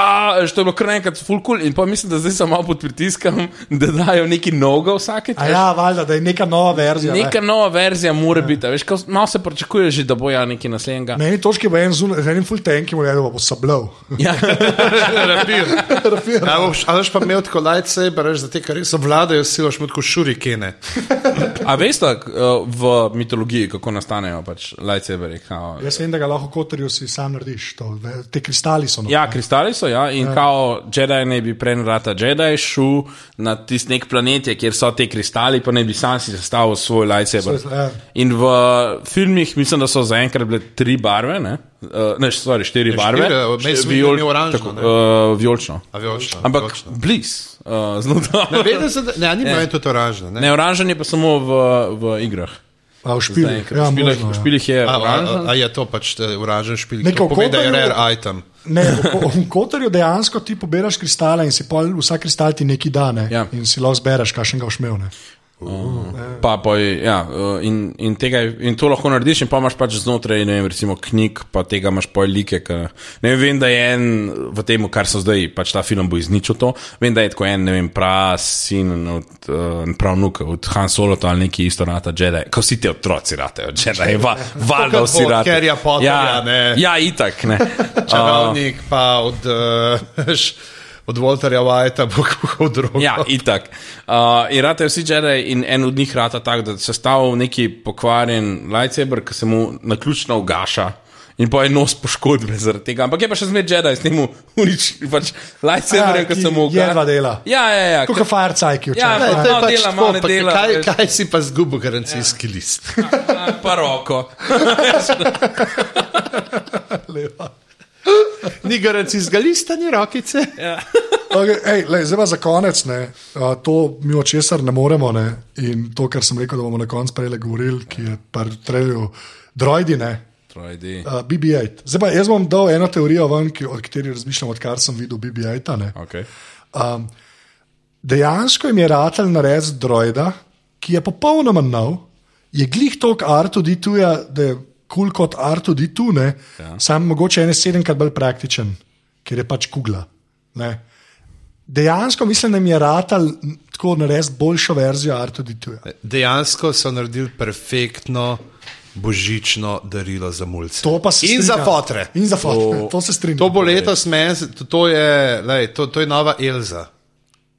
je bilo kar nekaj full cool, in pa mislim, da zdaj sem malo pod pritiskom, da dajo neki nogo vsake. A ja, valjda, da je neka nova verzija. ne. Neka nova verzija mora ja. biti, a veš, kao malo se pričakuje že, da bo ja nekaj naslednjega. Na eni točki bo en zunaj, z enim full tankom, da bo sablal. Ja. Ja, boš, a veš pa imel tako lajce, brž za te, kar res obvladajo, si boš imel tako šurikene. A veste, uh, v mitologiji, kako nastanejo pač lightsaberi? kao- Jaz vem, da ga lahko kotorju si sam narediš, to, da- te kristali so. no. Ja, kristali so, ja, in ja. kao Jedi naj bi prenorata Jedi šel na tisti nek planet, kjer so te kristali, pa naj bi sam si sestavil svoj lightsaber. Svoj- ja. In v filmih mislim, da so zaenkrat bile tri barve, ne, uh, ne sorry, štiri ne, barve. štiri, od Mace Windu je oranžno, ne. uh, vijolično. A vijolično, Ampak vijolično. bliz, uh, zelo dobro. Vedel sem, da ne, ni bilo to toražno. Ne, Ne, oranžen je pa samo v, v igrah. A v špilu. Zaenkrat. Ja, v špilah, v možno, ja. špilih je A, a, a, oranžen. a je to pač uražen špil, ki Neko pomeni, da je kopanju- rare item. Ne, v ko- v kotorju dejansko ti poberaš kristale in si pol, vsak kristal ti neki dane. Ja. In si lahko zbereš, kakšen ga boš imel. ne. Uh-huh. Pa, pa, ja, uh, in, in, tega, je- in to lahko narediš, in pa imaš pač znotraj ne vem, recimo, knjig, pa tega imaš poj like. Ka, ne vem, vem, da je en v tem, kar so zdaj, pač ta film bo izničil to. Vem, da je tako en, ne vem, prasin, od, uh, pravnuk od Han Solo ali neki isto rata Jedi. Ko vsi ti otroci ratejo, Jedi, va, valjda Tako kot vsi od ratejo. Harryja Potterja, ja, ne. ja, itak. Ne. Čarovnik, pa od, uh, od Walterja Whitea bo kuhal drugo. Ja, itak. Uh, in ratajo vsi Jedi, in en od njih rata tak, da se stavi neki pokvarjen lightsaber, ki se mu na ključno ugaša. In pa je nos poškodbe zaradi tega. Ampak je pa še zmeraj Jedi, s tem uničil pač lightsaber, Ja, ki ki se mu ugaša. jedva dela. Ja, ja, ja. Kot Firefly, ki Ja, včeraj. ne, to je pač malo dela, tako, malo ne pa dela, Kaj, veš. kaj si pa zgubil garancijski ja. list? Ja, pa roko. Ni garancijskega lista, ni rokice. Ja. Okay, ej, lej, zdaj pa za konec, ne, a, to mi od česar ne moremo. Ne, in to, kar sem rekel, da bomo na koncu prej govorili, ki je prejel droidi, ne, Trojdi. a, BB-8. Zdaj pa jaz bom dal eno teorijo ven, ki, od kateri razmišljam, odkar sem videl BB-8. ne. Okay. Um, dejansko jim je ratelj naredil droida, ki je popolnoma nov, je glih tok R2D2, da je kul cool kot R2D2, ne, ja. sam mogoče je sedemkrat bolj praktičen, ker je pač kugla. Ne. Dejansko mislim, da jim je ratelj tako naredil boljšo verzijo R2D2. Dejansko so naredili perfektno božično darilo za mulce. To pa se In strinjam. za fotre. In za fotre, to, to se strinjam. To bo letos meni, to, to, je, lej, to, to je nova Elza.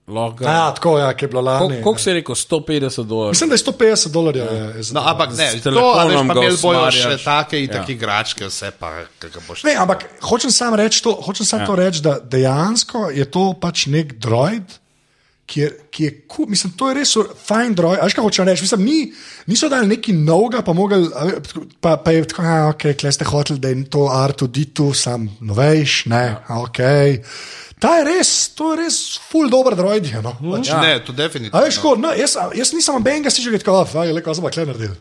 Lahko. Ja, tako ja, ki je bilo lani. Koliko si rekel? 150 dolarjev. Mislim, da je 150 dolarjev. je- je za No, to. ampak ne, S to a veš, telefonom pa ga Ja. imeli bojo še usmerjaš. take in take igračke, vse pa, ki ga boš. Ne, ampak hočem samo reči to, hočem sam ja. to reči, da dejansko je to pač nek droid. Ki je, ki je ku, mislim, to je res fajn droid. Až kaj hočem reči, mislim, ni, niso dali neki novega, pa, mogel, a ve, tako- pa, pa je tako, da okay, klej ste hoteli, da je to R2D2, sam novejš, ne, ja. ok. Ta je res, to je res full dobro droid. je, No, pač. Ja. Ne, to A veš, definitivno. ko, no, jaz, a- jaz nisem benga, si že rekel, da je lepo, zelo kle naredil.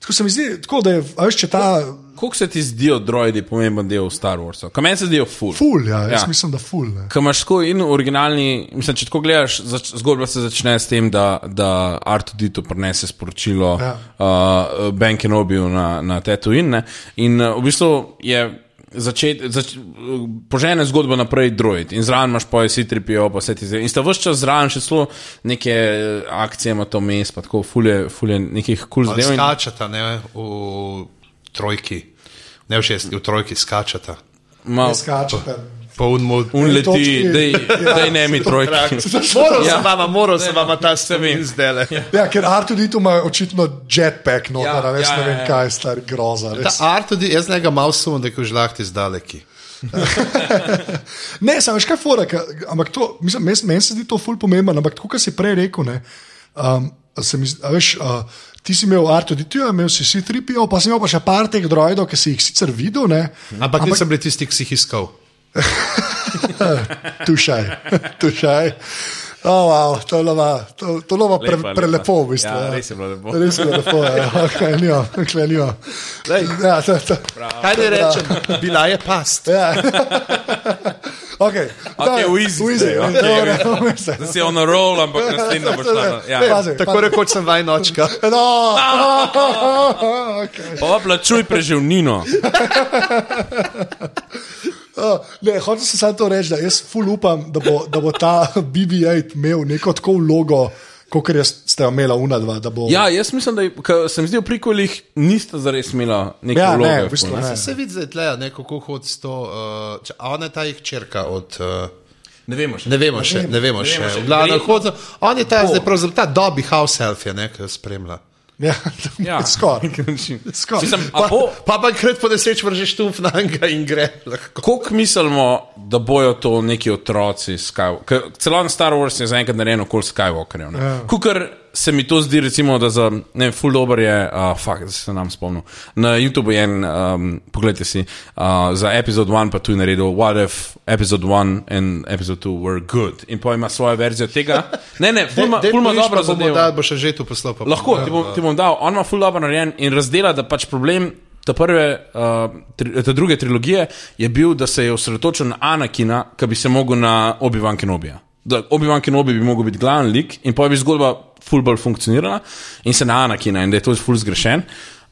Tako se mi zdi, tako, da je, a veš, če ta Koliko se ti zdijo droidi pomemben del Star Warsa? Kaj meni se zdijo full? full, ja, jaz Ja. ja. mislim, da full. Ne. Kaj imaš tako in originalni, mislim, če tako gledaš, zač, zgodba se začne s tem, da, da Artudito prenese sporočilo Ja. ja. uh, Ben Kenobiju na, na Tatooine. ne. In uh, v bistvu je. Začet, zač, požene zgodbo naprej, droid in zraven imaš pa vsi tri pijo, pa vse ti zdaj. In sta vse čas zraven še zelo neke eh, akcije, ima to mest, pa tako fulje, fulje nekih kul cool zadev. in- Skačata, ne, v trojki. Ne v šesti, v trojki skačata. Ma, Ne skačete. Ja. Poln mod. un leti, točki. dej, Ja. dej ne mi trojki. Moral Ja. sem vama, moral sem vama ta spomin zdele. Ja, ker Artudito ima očitno jetpack, no, Ja, ja, res ja, ja, ne ja, vem, ja. ja. kaj je star groza. Ta Res. art tudi, jaz njega malo sumim, da je žlahti zdaleki. Ne, samo še kaj fora, ka, ampak to, mislim, meni, meni se zdi to ful pomembno, ampak tako, kot si prej rekel, ne, um, se mi, zdi- a veš, uh, ti si imel Artudito, imel si si tripijo, pa si imel pa še par teh droidov, ki si jih sicer videl, ne, Ampak nisem bil tisti, ki si jih iskal. tušaj, tušaj. Oh, wow, to je lova, to, to lova pre, Lepa, lepa. prelepo, v bistvu. Ja, res je bilo lepo. Res je bilo lepo, ja, oklenio, oklenio. Lej. Ja, to, to. Kaj naj rečem? Bila je past. Ja. okay, Okay, dobro, v easy v zdaj, okay. dobro, dobro, vse. Zdaj si on a roll, ampak naslednja boš šla. na- Ja. Pazi, Tako pazi. rekoč sem vaj nočka. No, Ah! okay. Pa plačuj preživnino. Uh, ne, hočem se samo to reči, da jaz ful upam, da bo, da bo ta BB-8 imel neko tako vlogo, kot je ste jo imela unadva. da Bo, Ja, jaz mislim, da je- ke se mi zdi v prikolih nista zares imela neke ja vloge. ne, v bistvu ful, ne. Se vidi, da je tle, ne, kako hod s to. Uh, če, a ona je ta jih črka od. Uh, ne vemo še. ne vemo še, ne vemo še. vemo še. V glavnem, Verjetno- hod- On je ta zdaj pravzaprav ta dobi house health, je nekaj spremlja. Ja, Ja. ja. Skoraj. Skor. Mislim, a Pa, bo, pa pa enkrat po nesreč vržeš tu fnanga in gre lahko. koliko mislimo, da bojo to neki otroci Skywalker? Celoten Star Wars je zaenkrat narejen okoli Skywalkerjev. Ja. Kukar se mi to zdi, recimo, da za, ne vem, full dober je, uh, fuck, zdaj se nam spomnil. Na YouTubu je en, um, pogledajte si, uh, za epizod 1 pa tu je naredil, what if episode 1 and episode 2 were good. In pa ima svojo verzijo tega. Ne, ne, ful ima- ful ima dobro zadevo. Da boš že tu poslal. pa- Ja, Lahko ti bom, ti bom dal, on ima full dobro narejen in razdela, da pač problem te prve, uh, tri, te druge trilogije je bil, da se je osredotočil na Anakina, ki bi se mogel na Obi-Wan Kenobija. Da Obi-Wan Kenobi bi mogel biti glavni lik in pa bi zgodba ful bolj funkcionirala in se na Anakina in da je to ful zgrešen.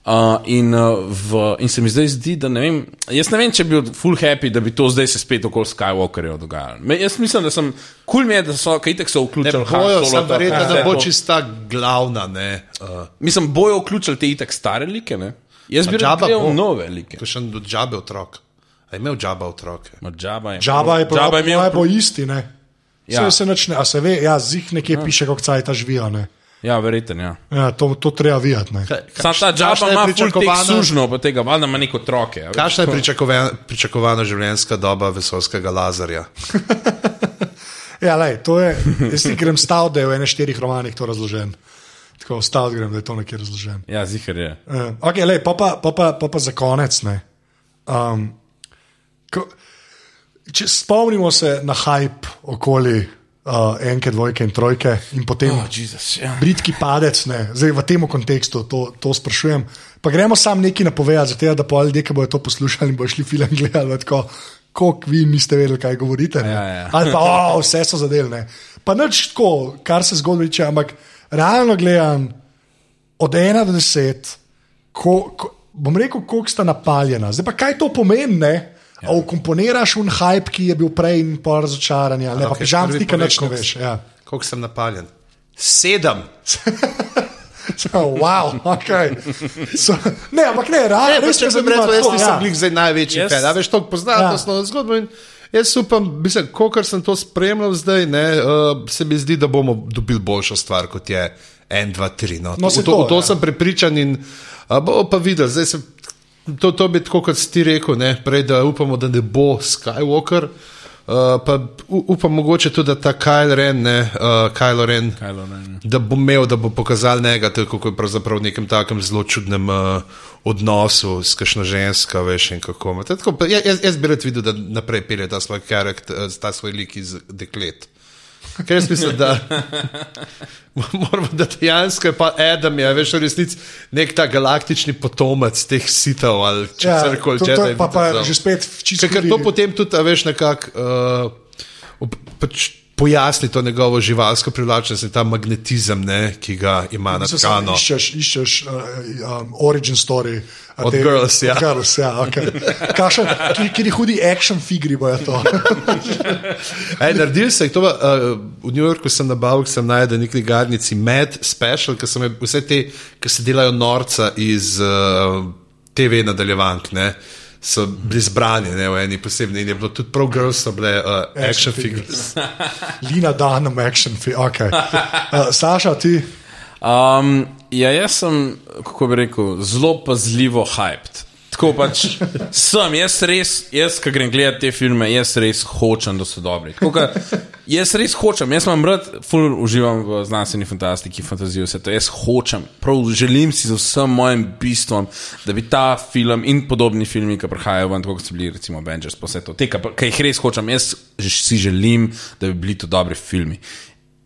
Uh, in, uh, v, in se mi zdaj zdi, da ne vem, jaz ne vem, če bi bil full happy, da bi to zdaj se spet okoli Skywalkerja dogajalo. Me, jaz mislim, da sem, kul cool mi je, da so, kaj tek so vključili. Han Bojo, Solo, ta- sem Ja. verjetno, vse da bo to. čista glavna, ne. Uh, Mislim, bojo vključili te itek stare like, ne? Jaz bi rad Jabba bo. gledal nove like. to je še en od džabe otrok. A je imel džaba otroke? Džaba je, Džaba je Jabba prav, imel imel... po isti, ne. Ja. Ja. Se ne, a se ve, ja, zih nekje ja. piše, kako caj ta žvijo. ne. Ja, verjeten, ja. Ja, to, to treba videti. ne. Sam ta kakšna džaba je ima ful tek pričakovana- sužno, pa tega, valjda ima neko troke. a veš. Kakšna je pričakovana, pričakovana življenjska doba vesolskega lazarja? Ja, lej, to je, jaz si grem stav, da je v enem štirih romanih to razložen. Tako stav grem, da je to nekje razložen. Ja, zihar je. Uh, okay, lej, pa, pa, pa, pa, pa pa za konec. ne. Um, ko, če spomnimo se na hype okoli uh, enke, dvojke in trojke, in potem Oh, Jezus, ja. britki padec, ne. zdaj v tem kontekstu to, to sprašujem. Pa gremo sam neki napovedati, zato da pa ljudje, ki bodo to poslušali in bodo šli film gledali, bodo tako, koliko vi niste vedeli, kaj govorite. ne." Ja, ja. Ali pa o, vse so zadelne. Pa nič tako, kar se zgodi, če ampak realno gledam od ena do deset, ko, ko, bom rekel, koliko sta napaljena. Zdaj pa kaj to pomeni? ne? A ukomponiraš un hype, ki je bil prej in pol razočaran, ali ne, pa okej, pižam, prvi ti kaj povej, več ne koliko veš. si- Ja. Koliko sem napaljen? Sedem. Oh, wow, okay. so, ne, ampak ne, ra, Ne, ne, pa res če sem zanima rekel, jaz to, nisem ja. bil zdaj največji Jaz- yes. fan. A veš, to poznam Ja. ja. osnovno zgodbo in jaz upam, mislim, kolikor sem to spremljal zdaj, ne, uh, se mi zdi, da bomo dobili boljšo stvar kot je 1, 2, 3. No, No, v saj to, to, v to ja. sem prepričan in uh, bomo pa videli. Zdaj se, to, to bi tako, kot si ti rekel, ne, prej, da upamo, da ne bo Skywalker. Uh, pa u- upam mogoče tudi, da ta Kyle Ren, ne, uh, Kylo Ren, Kylo Ren. da bo imel, da bo pokazal njega, tako kot je pravzaprav v nekem takem zelo čudnem uh, odnosu s kakšno žensko, veš, in kako ima. To je Tako, pa ja- jaz, jaz bi rad videl, da naprej pelje ta svoj karakter, eh, ta svoj lik iz deklet. Ker jaz mislim, da moramo, da dejansko je pa Adam, je veš, v resnici nek ta galaktični potomec teh sitov ali Ja, česar koli to- to je že. pa- pa že spet čisto Ker to hudi- potem tudi, a veš, nekako uh, pač pojasni to njegovo živalsko privlačnost in ta magnetizem, ne, ki ga ima na Mislim, samo tkano. Iščeš, iščeš uh, um, origin story. a Od Girls, ja. Od girls, ja okay. Kašen, ki, ki hudi action figuri bojo to. Ej, naredil sem jih, to, pa, uh, v New Yorku sem nabavil, ker sem najdel neki garnici Mad Special, ki so me vse te, ki se delajo norca iz uh, TV nadaljevank, ne, so bili zbrani ne, v eni posebni in je bilo tudi prav girls, so bile uh, Action action, action figures. Lina Danem action figuri. Okay. Uh, Saša, ti. Um, ja, jaz sem, kako bi rekel, zelo pazljivo hyped. Tako pač sem, jaz res, jaz, ki grem gledati te filme, jaz res hočem, da so dobri. Tako, ka, jaz res hočem, jaz imam rad, ful uživam v znanstveni fantastiki, fantaziji, vse to. Jaz hočem, prav želim si z vsem mojim bistvom, da bi ta film in podobni filmi, ki prihajajo ven, tako kot so bili recimo Avengers, pa vse to, te, ka- ki jih res hočem, jaz že- si želim, da bi bili to dobri filmi.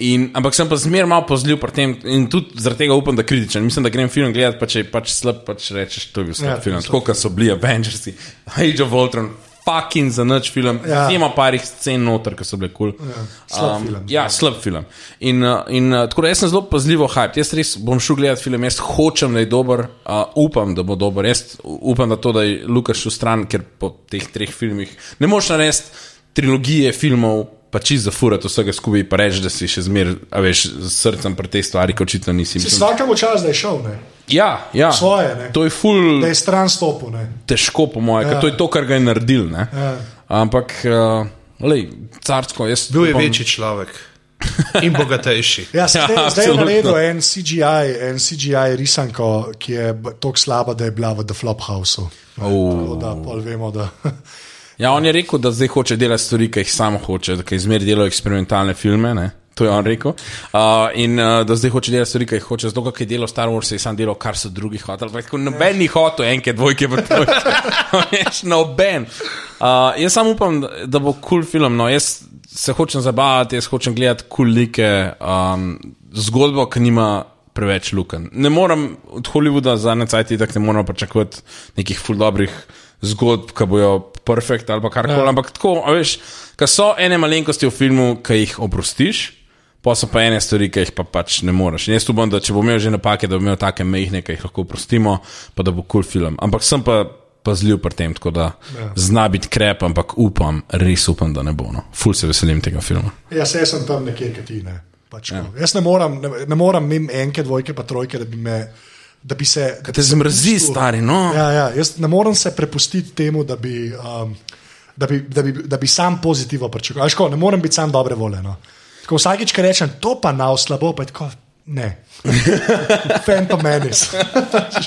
In, ampak sem pa zmeraj malo pozljiv pri tem in tudi zaradi tega upam, da kritičen. Mislim, da grem film gledati, pa če je pač slab, pač rečeš, to je bil slab Ja, ja, film. Tako kot so bili Avengersi, Age of Ultron, fucking za noč film. Ja. Ja. Zima parih scen noter, ki so bile kul. Cool. slab Um, film. Ja, slab film. In, uh, in uh, tako da jaz sem zelo pazljivo hype. Jaz res bom šel gledati film, jaz hočem, da je dober, uh, upam, da bo dober. Jaz upam, da to, da je Lukaš v stran, ker po teh treh filmih ne moš narediti trilogije filmov. Pa čisto zafurati vsega skupaj, pa reči, da si še zmeraj, a veš, s srcem pri tej stvari, ki očitno nisi. Mislim, Svakemu čas, da je šel, ne? ja, ja. Svoje, ne. To je ful da je stran stopil. Ne? težko, po mojem, ja. ker to je to, kar ga je naredil. ne. Ja. Ampak, uh, lej, carsko, jaz. Bil je upam- večji človek in bogatejši. Ja, se- Ja, zdaj je absolutno. naredil en CGI, en CGI risanko, ki je b- tako slaba, da je bila v The Flop Houseu. Tako Da, pol vemo, da. Ja, on je rekel, da zdaj hoče delati stvari, ki jih sam hoče, da izmeri delajo eksperimentalne filme. Ne? To je on rekel. Uh, in uh, da zdaj hoče delati stvari, ki jih hoče, zato ker je delal Star Wars, je sam delal, kar so drugi hoteli. Ampak tako Noben ni hotel, enke, dvojke, pa trojke. Veš, noben. Uh, jaz samo upam, da- da bo kul cool film. No, jaz se hočem zabavati, jaz hočem gledati kul cool like, um, zgodbo, ki nima preveč luken. Ne morem od Hollywooda za necajti, tako ne moremo pričakovati nekih ful dobrih zgodb, ki bojo perfekt ali pa karkoli, ampak tako, a veš, ki so ene malenkosti v filmu, ki jih oprostiš, Pa so pa ene stvari, ki jih pa pač ne moreš. In jaz upam, da če bo imel že napake, da bo imel take mehke, ki jih lahko prostimo, pa da bo kul cool film. Ampak sem pa pazljiv pri tem, tako da ja. zna biti krep, ampak upam, res upam, da ne bo. No. Ful se veselim tega filma. Jaz, jaz sem tam nekje, ki ti ne. Pač, ja. Jaz ne moram, ne, ne moram mem enke, dvojke, pa trojke, da bi me. Da bi se. Da bi Te se zmrzi, pustil- stari, no. Ja, ja, jaz ne morem se prepustiti temu, da bi, um, da bi, da bi, da bi sam pozitivno pričakoval. Veš, ko, ne morem biti sam dobre volje. No. Ko vsakič, ki rečem, to pa na slabo, pa je tako ne. Phantom Menace.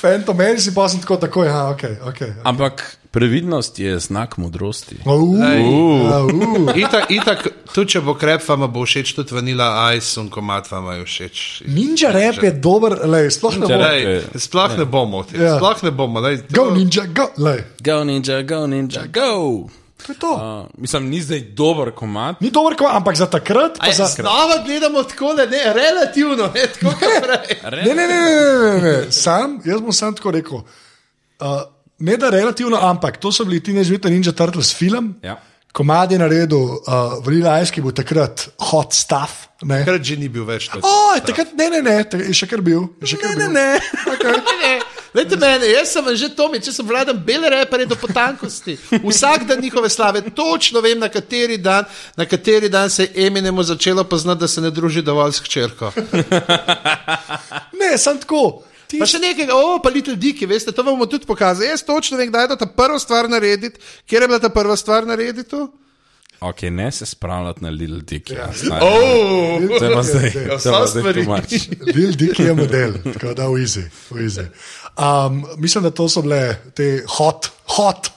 Phantom Menace in pa sem tako takoj, ja, ok, ok. Ampak previdnost je znak modrosti. Uh, uh, uh. Itak, itak, tudi če bo krep, vam bo všeč, tudi vanila ice, un komat vam je všeč. Ninja rap je dober, le, sploh ne Ninja bo. rap. Lej, sploh ne bomo, te, Ja. sploh ne bomo. Lej, to, Go, ninja, go, le. Go, ninja, go, ninja, go. To je to. Uh, mislim, ni zdaj dober komat. Ni dober, ko, ampak za takrat, pa Aj, za. znova gledamo tako, da ne, relativno, ne, tako kot prej. Ne, ne, ne, ne, ne, ne, ne. Sam, jaz bom sam tako rekel. Uh, ne da relativno, ampak to so bili ti neživite Ninja Turtles film. Ja. Komad je naredil, uh, vrila je, ki bo takrat hot stuff. Ne. Takrat že ni bil več tako. O, je takrat ne, ne, ne, takrat je še kar bil. je Še kar bil. Lejte mene, jaz sem že Tomi, če sem vladan bele repere do potankosti. Vsak dan njihove slave, točno vem, na kateri dan, na kateri dan se je Eminemu začelo poznati, da se ne druži dovolj s hčerko. Ne, sem tako. Ti Pa še nekaj, o, pa Little Dicky, veste, to vam bomo tudi pokazali. Jaz točno vem, kdaj je bila ta prva stvar narediti, kjer je bila ta prva stvar narediti. Ok, ne se spravljati na Little Dick. Ja. Oh. To je pa Ja, zdaj. To je pa zdaj stvari. too much. Lil Dick je model, tako da v izi. V izi. Um, mislim, da to so bile te hot, hot,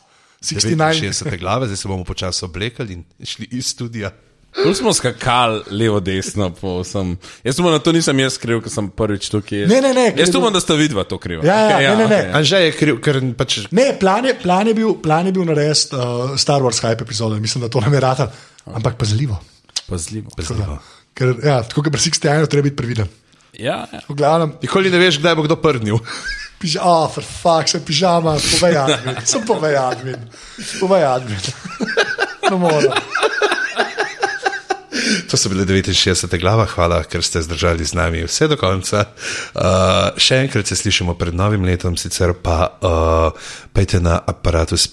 69. 60 glave, zdaj se bomo počasi oblekali in šli iz studia. Tu smo skakali levo, desno, po vsem. Jaz upam, da to nisem jaz kriv, ker sem prvič tukaj. Ne, ne, ne, Jaz ker- upam, da sta vidva to kriva. Ja, ja, Okej, ne, ne, ne. okej. Anže je kriv, ker pač Ne, plan je, plan je bil, plan je bil narediti uh, Star Wars hype epizode, mislim, da to ne merata, ampak pazljivo. Pazljivo. Ker, ja, tako kot pri 61, treba biti previden. Ja, ja. V glavnem, Nikoli ne veš, kdaj bo kdo prnil. pižama, oh, for fuck, sem pižama, povej admin, sem povej admin, povej admin. No, Ne morem. To so bile 69 glava, hvala, ker ste zdržali z nami vse do konca. Uh, še enkrat se slišimo pred novim letom, sicer pa uh, pejte na aparatus.si,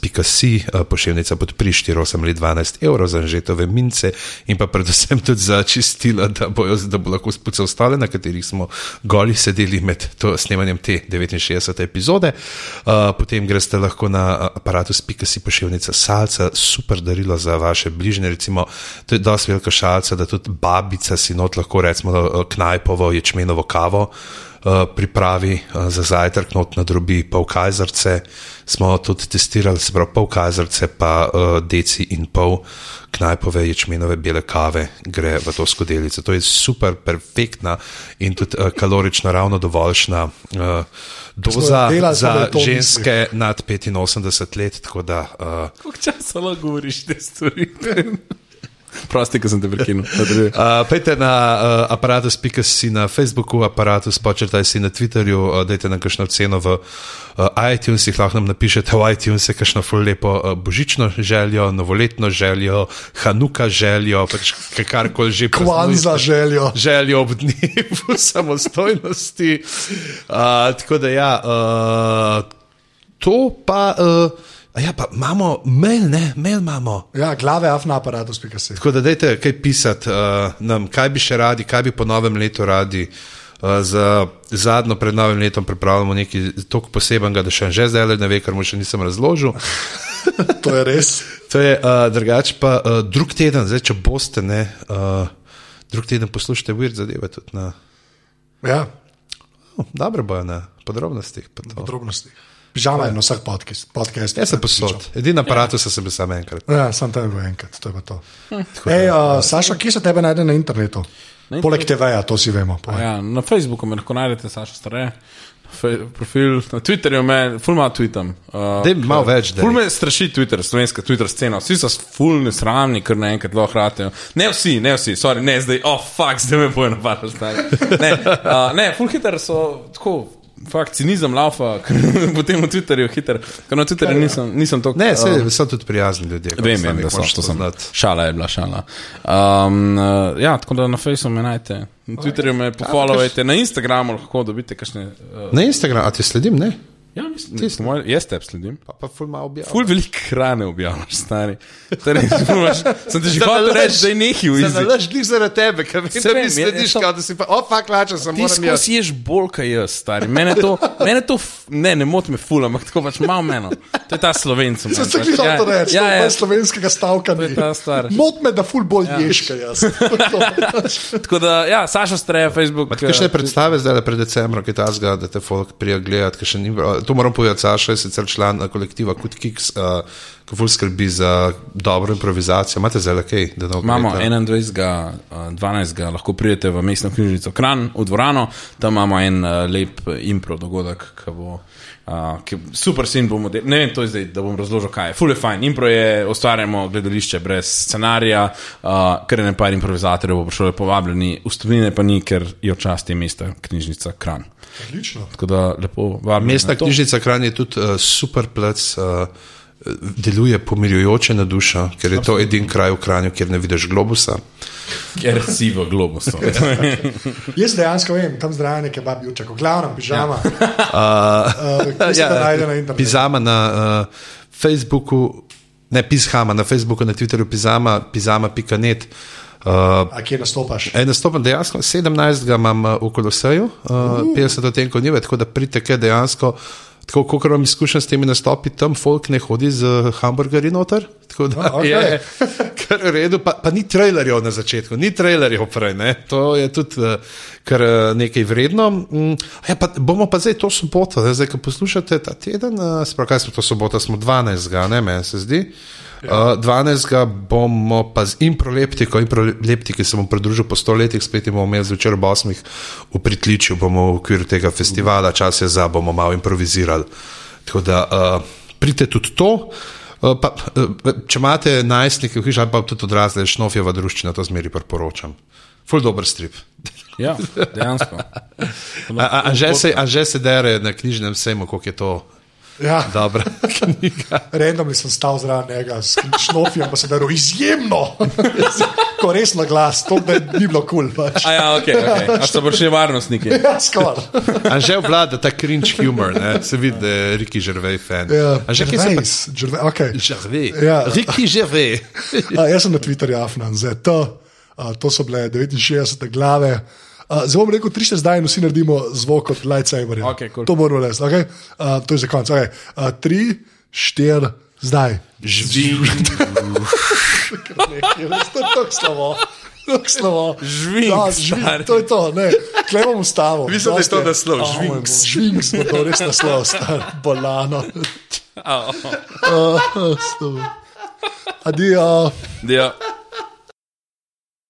uh, pošiljnica podpri 4, 8 ali 12 evrov za žetove mince in pa predvsem tudi za čistila, da, bojo, da bo lahko spucal stole, na katerih smo goli sedeli med to snemanjem te 69. epizode. Uh, potem greste lahko na uh, aparatus.si pošiljnica salca, super darilo za vaše bližnje, recimo, to je dosti velika šalca, da tudi babica si not lahko recimo eh, knajpovo, ječmenovo kavo. eh, Pripravi eh, za zajtrk, not na drobi, pol kajzerce, smo tudi testirali, se pravi, pol kajzerce, pa uh, deci in pol knajpove ječmenove bele kave gre v to skodelico. To je super, perfektna in tudi uh, kalorično ravno dovoljšna uh, doza delali smo, da za je to v ženske nad 85 let, tako da uh, Koliko časa lahko govoriš te stvari? Prosti, ker sem te prekinil. Nadaljuj. Uh, Pejte na uh, aparatus.com, na Facebooku, aparatus, počrtaj si na Twitterju, uh, dajte nam kakšno ceno v uh, iTunesih, lahko nam napišete v iTunesih kakšno ful lepo uh, božično željo, novoletno željo, Hanuka željo, pač k- karkoli že Kwanza željo. Željo ob dnevu samostojnosti. Uh, tako da ja. Uh, to pa. Uh, a ja, pa imamo mail, ne, mail imamo. Ja, glave afna aparatu, spika se. Tako da dajte kaj pisati uh, nam, kaj bi še radi, kaj bi po novem letu radi. Uh, za zadnjo pred novim letom pripravljamo nekaj tako posebnega, da še že zdaj ne ve, kar mu še nisem razložil. To je res. To je uh, drugače pa uh, drug teden, zdaj če boste, ne, uh, drug teden poslušajte weird zadeve tudi na. Ja, Oh, dobro bojo na podrobnostih. pa to. podrobnosti. Pižama je na vsak podcast. podcast Jaz sem posod, edini aparat ja. sem bil samo enkrat. Ja, sam tam je bil enkrat, to je pa to. Ej, ja. uh, Saša, kje se tebe najde na internetu? Poleg TV-ja, to si vemo. povej. Ja, na Facebooku me lahko najdete, Saša Stare. Fe- Profil na Twitterju, me, ful ima tweetam. Uh, Daj malo več, daj. Ful me straši Twitter, slovenska Twitter scena. Vsi so ful nesramni, ker naenkrat lahko ratijo. Ne vsi, ne vsi, sorry, ne zdaj, oh fuck, zdaj me bojo napadali. stari. Ne, uh, ne ful hiter so tako. fakt cinizem laufa, ker potem na Twitterju hiter, ker na Twitterju nisem, nisem uh, to. Ne, se, so tudi prijazni ljudje. Um, Vem, vem, da so to sem. Šala je bila šala. Um, uh, ja, tako da na Facebooku me najdete, na Twitterju me pohvalujete, na Instagramu lahko dobite kakšne. Uh, Na Instagramu, a ti sledim, ne? ja, mislim, moj, jaz te sledim. Pa, pa ful malo objavljam. Ful veliko hrane objavljaš, stari. Torej, imaš, sem ti že hotel reči, da je nekaj v izzivu. Zalaž glih zaradi tebe, ker vem, Saj da mi vem, je- slediš, je to- kot da si pa, opa, klača sem, Ti moram jaz. skozi ješ bolj kot jaz, stari. Mene to, mene to f- ne, ne moti me ful, ampak tako pač malo meno. To je ta slovencem. Sem se gledal to reči, ja, ja, to je slovenskega stavka. je ni. ta stvar. Ja. Mot me, da ful bolj ješ, kaj jaz. Tako da, ja, Saša streja Facebook. eh, Kakšne predstave zdaj pred decembrom, ki ta zga, da te folk prija gledati, ki še ni bilo. To moram povedati, Saša je sicer član eh, kolektiva Kut Kiks, uh, ki ful skrbi za dobro improvizacijo. Imate zdaj kaj, da ne Imamo 21. eh, 12. lahko pridete v mestno knjižnico Kran, v dvorano, tam imamo en uh, lep eh, impro dogodek, ki bo. Uh, ki, super sin bomo delali, ne vem, to je zdaj, da bom razložil, kaj je. Fule fajn, impro je, ustvarjamo gledališče brez scenarija, uh, ker je nekaj improvizatorjev bo prišlo povabljeni, ustavljene pa ni, ker je v časti mesta knjižnica Kran. Odlično. Tako da lepo vabim. Mestna knjižnica Kran je tudi uh, super plec. Uh, Deluje pomirjujoče na dušo, ker je to edini kraj v Kranju, kjer ne vidiš globusa. ker si v globusu. Jaz dejansko vem, tam zdravi nekaj babjuček, glavno pižama. Ja. Uh, ja, da najde na internetu. Pizama na uh, Facebooku, ne Pizhama, na Facebooku, na Twitterju Pizama, pizama.net. Uh, A kje nastopaš? Ja. Ej, nastopam dejansko 17. imam eh, v Koloseju, uh, 50 odtenkov nive, tako da pridite, ker dejansko, tako kot imam izkušen s temi nastopi, tam folk ne hodi z eh, hamburgerji noter. Tako da okej. je kar v redu, pa, pa ni trailerjev na začetku, ni trailerjev prej, ne? to je tudi eh, kar eh, nekaj vredno. Mm, Ja, pa, bomo pa zdaj to soboto, ne, zdaj, ko poslušate ta teden, eh, sprav, kaj smo to soboto, smo 12, ne, meni se zdi. Uh, 12. bomo pa z improleptiko, improleptiki se bom pridružil po 100 letih, spet jim bomo imeli zvečer ob 8. v pritličju, bomo v okviru tega festivala, čas je za, bomo malo improvizirali. Tako da uh, pridite tudi to. Uh, pa, uh, če imate najstnike v hiši, ali pa tudi odrasle, šnofjeva druščina, to zmeri priporočam. Ful dober strip. ja, dejansko. A- a- Anže se, Anže se dere na knjižnem sejmu, koliko je to Ja, dobra knjiga. Randomni sem stal zraven njega, s šnofjem pa se daro izjemno, ko resno glas, to da ni bilo kul. Cool, pač. A ja, ok, okay. a so prišli varnostniki. Ja, skoraj. Anže obvlada ta cringe humor, ne? se vidi, da je Riki Žervej fan. Ja, Anže, kje se pa Gervais, Gervais, okay. Žervej. Ja. Riki Žervej. A, jaz sem na Twitterju afnan, zdaj to, a, to so bile 69 glave. A, Zdaj bom rekel, 300 zdaj in vsi naredimo zvok kot lightsaber. Okej, cool. To moramo reči, okay? A, to je za konec. Okay. A, tri, štiri, zdaj. Živi, To je tako slabo. tako slabo. Žvinks, Ja, žvinks, stari. To je to, ne. Klemom ustavil. Mislim, da je to Dosti. A, naslov, moj žvinks. bog, Žvinks, bo to res naslov, star, bolano. oh, Adijo. ja.